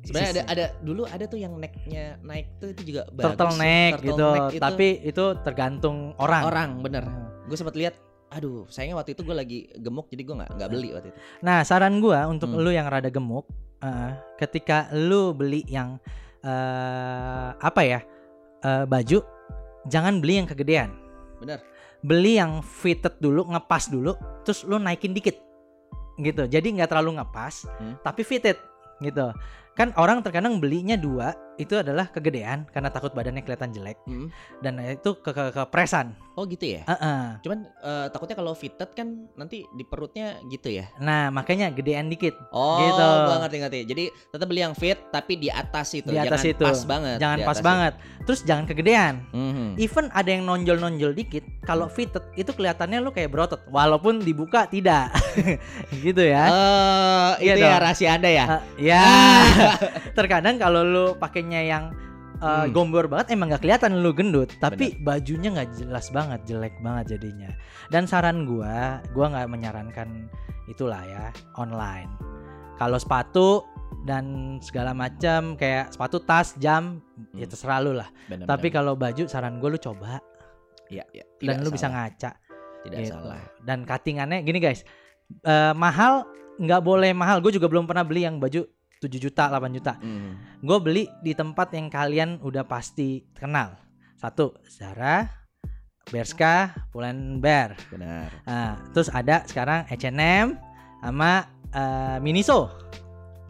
B: sebenarnya ada ada dulu ada tuh yang necknya naik tuh itu juga bagus
A: turtleneck
B: Turtleneck
A: gitu,
B: itu
A: tapi itu tergantung orang. Hmm.
B: orang bener gue sempat lihat aduh sayangnya waktu itu gue lagi gemuk jadi gue nggak nggak beli waktu itu
A: Nah, saran gua untuk
B: Hmm.
A: lu yang rada gemuk, Heeh. ketika lu beli yang eh apa ya eh, baju jangan beli yang kegedean
B: Bener.
A: beli yang fitted dulu ngepas dulu terus lu naikin dikit gitu jadi nggak terlalu ngepas
B: Hmm.
A: tapi fitted gitu kan orang terkadang belinya dua itu adalah kegedean karena takut badannya kelihatan jelek
B: Mm.
A: dan itu ke, ke- kepresan
B: Oh gitu ya.
A: Heeh.
B: Cuman eh, takutnya kalau fitted kan nanti di perutnya gitu ya.
A: nah makanya gedean dikit
B: Oh,
A: Gitu.
B: gua ngerti ngerti. Jadi tetap beli yang fit tapi di atas itu,
A: Di atas
B: jangan
A: itu.
B: pas banget.
A: jangan
B: di
A: pas
B: atas ya. itu.
A: banget Iya terus jangan kegedean
B: Mhm.
A: even ada yang nonjol-nonjol dikit kalau fitted itu kelihatannya lu kayak berotot walaupun dibuka tidak gitu ya
B: Eh,
A: Iya
B: itu ya
A: dong.
B: rahasia Anda ya.
A: Ah, ya terkadang kalau lu pakainya yang eh,
B: Hmm.
A: gombor banget emang nggak kelihatan lu gendut tapi bajunya nggak jelas banget jelek banget jadinya dan saran gua gua nggak menyarankan itulah ya online kalau sepatu dan segala macam kayak sepatu tas jam ya
B: Hmm.
A: terserah lu lah
B: Benar,
A: tapi
B: benar.
A: kalau baju saran gua lu coba
B: Iya, iya.
A: dan
B: Tidak
A: lu bisa
B: salah,
A: ngaca
B: Tidak
A: gitu.
B: salah.
A: Dan cuttingannya gini guys, eh, mahal nggak boleh mahal. Gue juga belum pernah beli yang baju 7 juta, 8 juta.
B: Mhm.
A: Gue beli di tempat yang kalian udah pasti kenal. Satu, Zara, Berska, Pull&Bear.
B: Benar.
A: Nah, terus ada sekarang H&M sama eh, Miniso.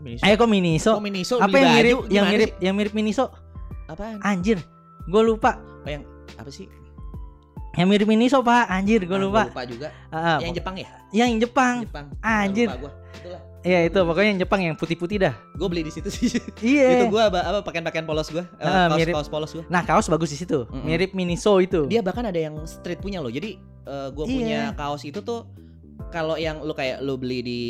B: Miniso.
A: Eh kok Miniso?
B: Kok Miniso
A: apa
B: beli
A: yang
B: baju?
A: mirip yang
B: Gimana
A: mirip Ah.
B: sih?
A: yang mirip Miniso?
B: apaan?
A: Anjir, gue lupa.
B: Oh, yang apa sih?
A: Yang mirip Miniso pak, anjir gue
B: Ah,
A: lupa.
B: lupa juga.
A: Ah, ah,
B: Yang Jepang ya?
A: yang Jepang.
B: Jepang.
A: Anjir.
B: Lupa gua. Itulah.
A: Iya itu pokoknya yang Jepang yang putih-putih dah.
B: Gua beli di situ sih. Itu
A: Iya.
B: gua apa, apa pakaian-pakaian polos gua. Eh,
A: Ah,
B: kaos,
A: mirip.
B: kaos polos gua.
A: Nah kaos bagus di situ,
B: Mm-mm.
A: mirip Miniso itu.
B: Dia bahkan ada yang street punya loh. Jadi eh, gua
A: Iya.
B: punya kaos itu tuh kalau yang lu kayak lu beli di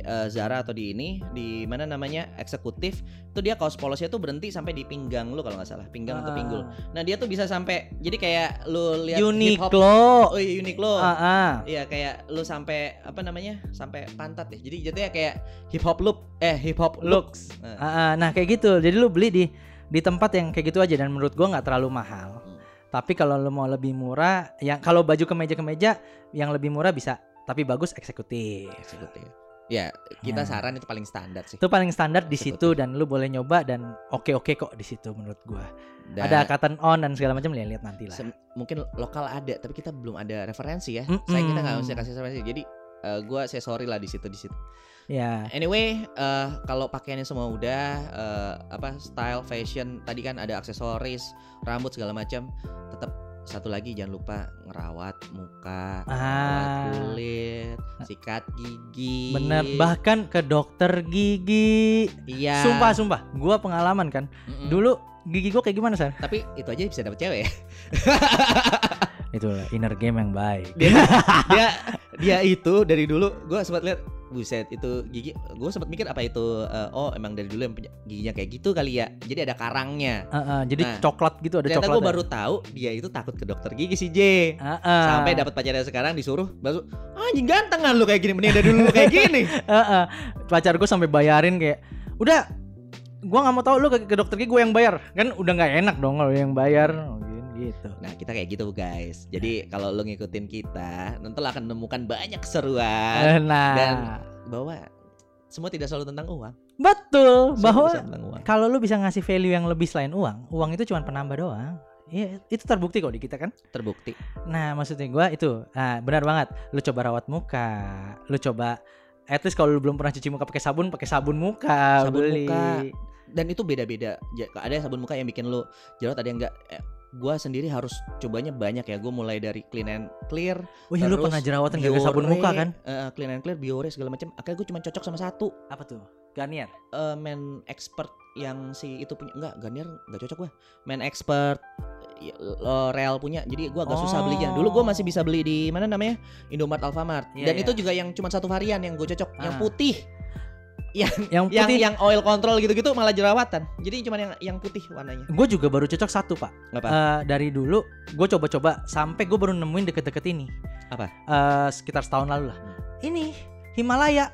B: eh, Zara atau di ini di mana namanya eksekutif tuh dia kaos polosnya tuh berhenti sampai di pinggang lu kalau nggak salah pinggang atau pinggul nah dia tuh bisa sampai jadi kayak lu lihat hip hop
A: Ah. Uniqlo.
B: oh iya unik lo
A: Ah, ah.
B: Iya kayak lu sampai apa namanya sampai pantat ya. Jadi jatuhnya kayak hip hop loop eh hip hop look.
A: looks.
B: Nah.
A: Ah, ah. Nah kayak gitu. Jadi lu beli di di tempat yang kayak gitu aja dan menurut gua nggak terlalu mahal.
B: Hmm.
A: Tapi kalau lu mau lebih murah, yang kalau baju kemeja-kemeja yang lebih murah bisa, tapi bagus eksekutif.
B: Eksekutif. Ya kita
A: Nah.
B: saran itu paling standar sih.
A: Itu paling standar di
B: Eksekutif.
A: situ dan lu boleh nyoba dan oke-oke kok di situ menurut gua.
B: Dan
A: Ada cotton on dan segala macam lihat-lihat nanti lah.
B: sem- mungkin lokal ada tapi kita belum ada referensi ya.
A: Mm-mm.
B: Saya kita nggak bisa kasih referensi. Jadi eh, gua saya sorry lah di situ di situ. Nah,
A: Ya.
B: Anyway, eh, kalau pakaiannya semua udah eh, apa style fashion tadi kan ada aksesoris, rambut segala macam, tetap satu lagi jangan lupa ngerawat muka, ngerawat
A: Ah.
B: kulit, sikat gigi.
A: Bener, bahkan ke dokter gigi.
B: Iya.
A: Sumpah, sumpah. Gua pengalaman kan.
B: Mm-mm.
A: Dulu gigi gua kayak gimana, San?
B: Tapi itu aja bisa dapet cewek. ya.
A: Itulah inner game yang baik.
B: Dia, dia dia itu dari dulu gue sempat lihat buset itu gigi gue sempat mikir apa itu eh, oh emang dari dulu yang punya giginya kayak gitu kali ya jadi ada karangnya
A: Heeh, jadi
B: Nah,
A: coklat gitu ada
B: ternyata
A: coklat.
B: gue baru tahu dia itu takut ke dokter gigi si J
A: Ah.
B: sampai dapat pacarnya sekarang disuruh baru anjing gantengan lu kayak gini mending dari dulu lu kayak gini
A: pacar gue sampai bayarin kayak, "Udah, gua nggak mau tahu lu ke, ke dokter gigi gue yang bayar." Kan udah nggak enak dong kalau yang bayar. Mungkin gitu.
B: nah kita kayak gitu guys jadi kalau lu ngikutin kita nanti lu akan menemukan banyak keseruan
A: Eh, Nah,
B: dan bahwa semua tidak selalu tentang uang
A: betul
B: Semua
A: bahwa
B: tidak selalu tentang uang
A: kalau lu bisa ngasih value yang lebih selain uang, uang itu cuma penambah doang. Iya, itu terbukti kok di kita kan.
B: terbukti
A: Nah, maksudnya gua itu, nah, benar banget. Lu coba rawat muka, lu coba, at least kalau lu belum pernah cuci muka pakai sabun, pakai sabun muka,
B: Sabun
A: beli.
B: muka. dan itu beda-beda Ja- ada yang sabun muka yang bikin lu jerawat ada yang enggak eh, gue sendiri harus cobanya banyak ya gue mulai dari clean and clear
A: Wih, lu
B: Terus
A: pernah jerawatan gara
B: Biore,
A: sabun muka kan?
B: eh, clean and clear biore segala macam akhirnya gue cuma cocok sama satu
A: Apa tuh? Garnier.
B: eh, men expert yang si itu punya enggak Garnier enggak cocok gua. Men expert eh, L'Oreal punya. Jadi gua agak susah belinya. Dulu gua masih bisa beli di mana namanya? Indomaret Alfamart.
A: Iya,
B: Dan
A: iya.
B: itu juga yang cuma satu varian yang gue cocok, yang
A: Ah.
B: putih. Yang
A: Yang
B: yang
A: putih.
B: yang oil control gitu-gitu malah jerawatan. Jadi cuma yang yang putih warnanya.
A: Gue juga baru cocok satu pak.
B: Apa?
A: Eh, dari dulu gue coba-coba sampai gue baru nemuin deket-deket ini.
B: Apa? Hmm.
A: Eh, sekitar setahun lalu lah. Ini Himalaya.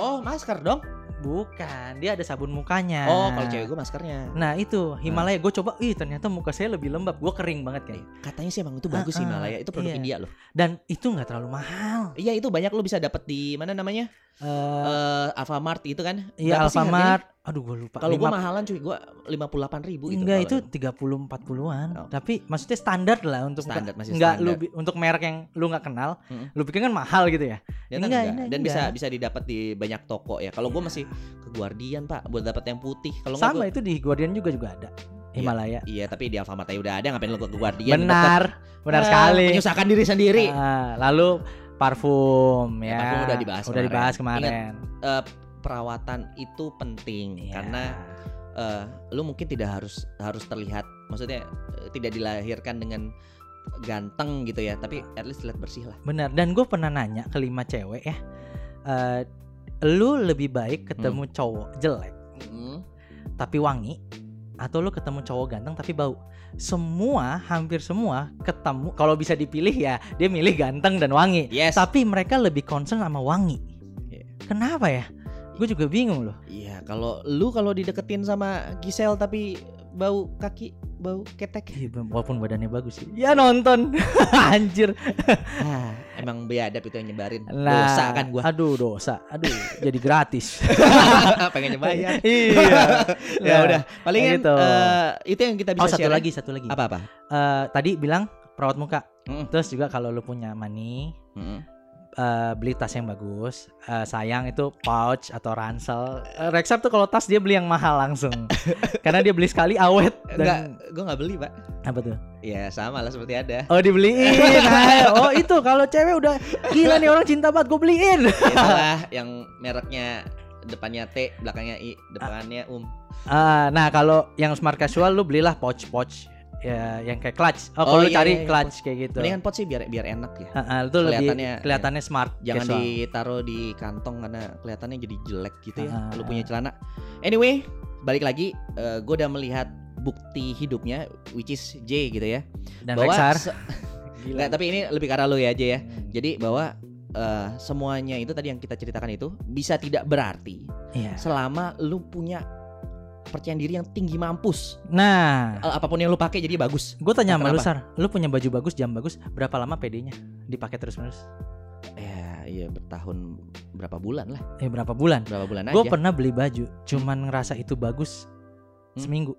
B: Oh, masker dong.
A: Bukan, dia ada sabun mukanya.
B: Oh, kalau cewek Hmm. gue maskernya.
A: Nah itu Himalaya gue coba, ih ternyata muka saya lebih lembab, gue kering banget kayak.
B: Iya,
A: gitu.
B: Katanya sih emang itu bagus sih
A: Ah, ah,
B: Himalaya. Itu produk
A: iya.
B: India loh.
A: Dan itu nggak terlalu mahal.
B: Iya itu banyak lo bisa dapet di mana namanya?
A: Eh,
B: Eh Alfamart itu kan?
A: Iya
B: Berapa sih harganya?
A: Alfamart. Aduh gue lupa.
B: Kalau gue
A: Lima-
B: mahalan cuy, gue lima puluh delapan ribu itu.
A: Enggak
B: kalau
A: itu 30 40-an.
B: Oh.
A: Tapi maksudnya standar lah untuk muka-
B: Standar, masih
A: enggak lu
B: standar.
A: bi- untuk merek yang lu nggak kenal,
B: Mm-mm.
A: lu pikir kan mahal gitu ya.
B: Ya kan
A: Enggak,
B: enggak.
A: enggak,
B: dan bisa
A: enggak.
B: bisa didapat di banyak toko ya. Kalau gue masih ke Guardian pak buat dapat yang putih. Kalau enggak
A: Sama
B: gua-
A: itu di Guardian juga juga ada. Himalaya.
B: Iya tapi di Alfamart aja udah ada ngapain lo ke Guardian?
A: Benar, benar
B: Ah,
A: sekali.
B: Menyusahkan diri sendiri.
A: Ah, lalu parfum
B: Ya,
A: ya.
B: parfum udah dibahas
A: Udah
B: kemarin.
A: dibahas kemarin.
B: Eh, perawatan itu penting
A: Iya.
B: karena eh, lu mungkin tidak harus harus terlihat maksudnya eh, tidak dilahirkan dengan ganteng gitu ya tapi at least terlihat bersih lah
A: benar. Dan gue pernah nanya ke lima cewek ya. Eh lu lebih baik ketemu
B: Hmm.
A: cowok jelek tapi wangi atau lu ketemu cowok ganteng tapi bau semua hampir semua ketemu kalau bisa dipilih ya dia milih ganteng dan wangi
B: yes
A: tapi mereka lebih concern sama wangi
B: Iya.
A: kenapa ya gue juga bingung loh
B: iya kalau lu kalau dideketin sama Gisel tapi bau kaki bau ketek
A: Ih, Iya, walaupun badannya bagus sih ya nonton anjir
B: ah, emang biadab itu yang nyebarin
A: Nah,
B: dosa kan gua
A: aduh dosa aduh jadi gratis
B: pengen nyebarin
A: iya
B: ya udah palingan
A: gitu.
B: eh, itu yang kita bisa
A: oh satu
B: share.
A: lagi satu lagi
B: apa apa
A: Eh, tadi bilang perawat muka
B: Mm.
A: terus juga kalau lu punya money
B: Mm-hmm.
A: eh, beli tas yang bagus. Eh, sayang itu pouch atau ransel. Eh, Rexap tuh kalau tas dia beli yang mahal langsung. Karena dia beli sekali awet
B: enggak
A: dan
B: gua nggak beli pak
A: apa tuh?
B: ya sama lah seperti ada
A: Oh dibeliin. Hai. oh itu kalau cewek udah gila nih orang cinta banget gue beliin.
B: Itulah yang mereknya depannya T, belakangnya I, depannya Um.
A: Ah, nah kalau yang smart casual lu belilah pouch pouch ya yang kayak clutch. Oh, kalau
B: Oh,
A: lu
B: iya,
A: cari
B: iya, iya,
A: clutch kayak gitu.
B: Mendingan pot sih biar biar enak ya.
A: Ah, ah, itu lebih
B: Kelihatannya-
A: kelihatannya smart
B: Jangan
A: casual.
B: ditaruh di kantong karena kelihatannya jadi jelek gitu ya.
A: Ah,
B: Lu punya celana. Anyway, balik lagi gue udah melihat bukti hidupnya which is J gitu ya.
A: dan Rexar.
B: se-
A: Gila.
B: nggak, tapi ini lebih karena lu ya J ya.
A: Hmm.
B: Jadi bahwa eh, semuanya itu tadi yang kita ceritakan itu bisa tidak berarti
A: Iya.
B: selama lu punya kepercayaan diri yang tinggi mampus.
A: Nah,
B: Eh, apapun yang lu pakai jadi bagus.
A: Gue tanya sama lu
B: Kenapa?
A: Sar, lu punya baju bagus, jam bagus, berapa lama PD-nya dipakai terus-menerus?
B: Ya, iya bertahun berapa bulan lah,
A: Eh berapa bulan?
B: berapa bulan
A: Gue
B: aja.
A: pernah beli baju, cuman ngerasa itu bagus
B: Hmm.
A: seminggu.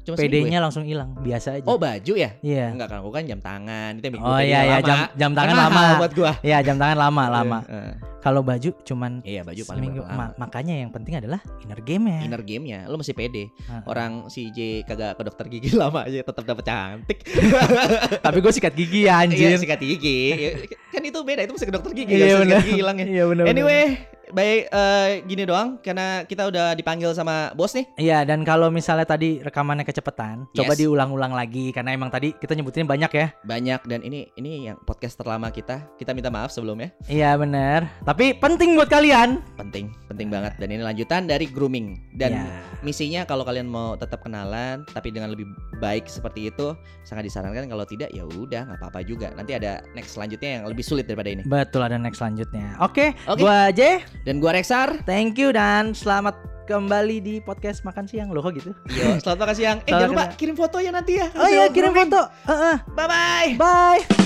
B: Cuma seminggu ya?
A: PD-nya langsung hilang, biasa aja.
B: Oh, baju ya?
A: iya.
B: Enggak, kalau gua kan jam tangan, itu yang bikin
A: Oh
B: gua
A: iya
B: beli
A: ya,
B: lama.
A: jam jam tangan
B: Kan
A: lama.
B: mahal buat gua.
A: Iya, jam tangan lama lama.
B: Heeh.
A: Kalau baju cuman
B: Iya, baju paling
A: seminggu.
B: berapa lama.
A: Ma- makanya yang penting adalah inner game ya.
B: Inner gamenya, lu masih pede.
A: Heeh.
B: Orang si J kagak ke dokter gigi lama aja tetap dapat cantik.
A: Tapi gue sikat gigi ya
B: Iya,
A: anjir.
B: sikat gigi. Ya, Kan itu beda, itu mesti ke dokter gigi,
A: Iya,
B: nggak bisa
A: benar.
B: sikat gigi hilangnya.
A: Iya benar.
B: Anyway, baik eh, gini doang karena kita udah dipanggil sama bos nih.
A: Iya dan kalau misalnya tadi rekamannya kecepatan, coba
B: Yes.
A: diulang-ulang lagi karena emang tadi kita nyebutin banyak ya.
B: Banyak dan ini ini yang podcast terlama kita. Kita minta maaf sebelumnya.
A: Iya bener Tapi penting buat kalian
B: penting penting banget dan ini lanjutan dari grooming dan
A: Iya.
B: misinya kalau kalian mau tetap kenalan tapi dengan lebih baik seperti itu sangat disarankan kalau tidak ya udah nggak apa-apa juga nanti ada next selanjutnya yang lebih sulit daripada ini
A: Betul ada next selanjutnya Oke
B: Oke.
A: Gua aja
B: dan gua Rexar
A: Thank you dan selamat kembali di podcast makan siang Loh kok gitu
B: yo selamat makan siang eh
A: Selamat
B: jangan lupa
A: makan.
B: Oh kirim fotonya nanti ya
A: Oh iya kirim foto Heeh.
B: bye bye
A: Bye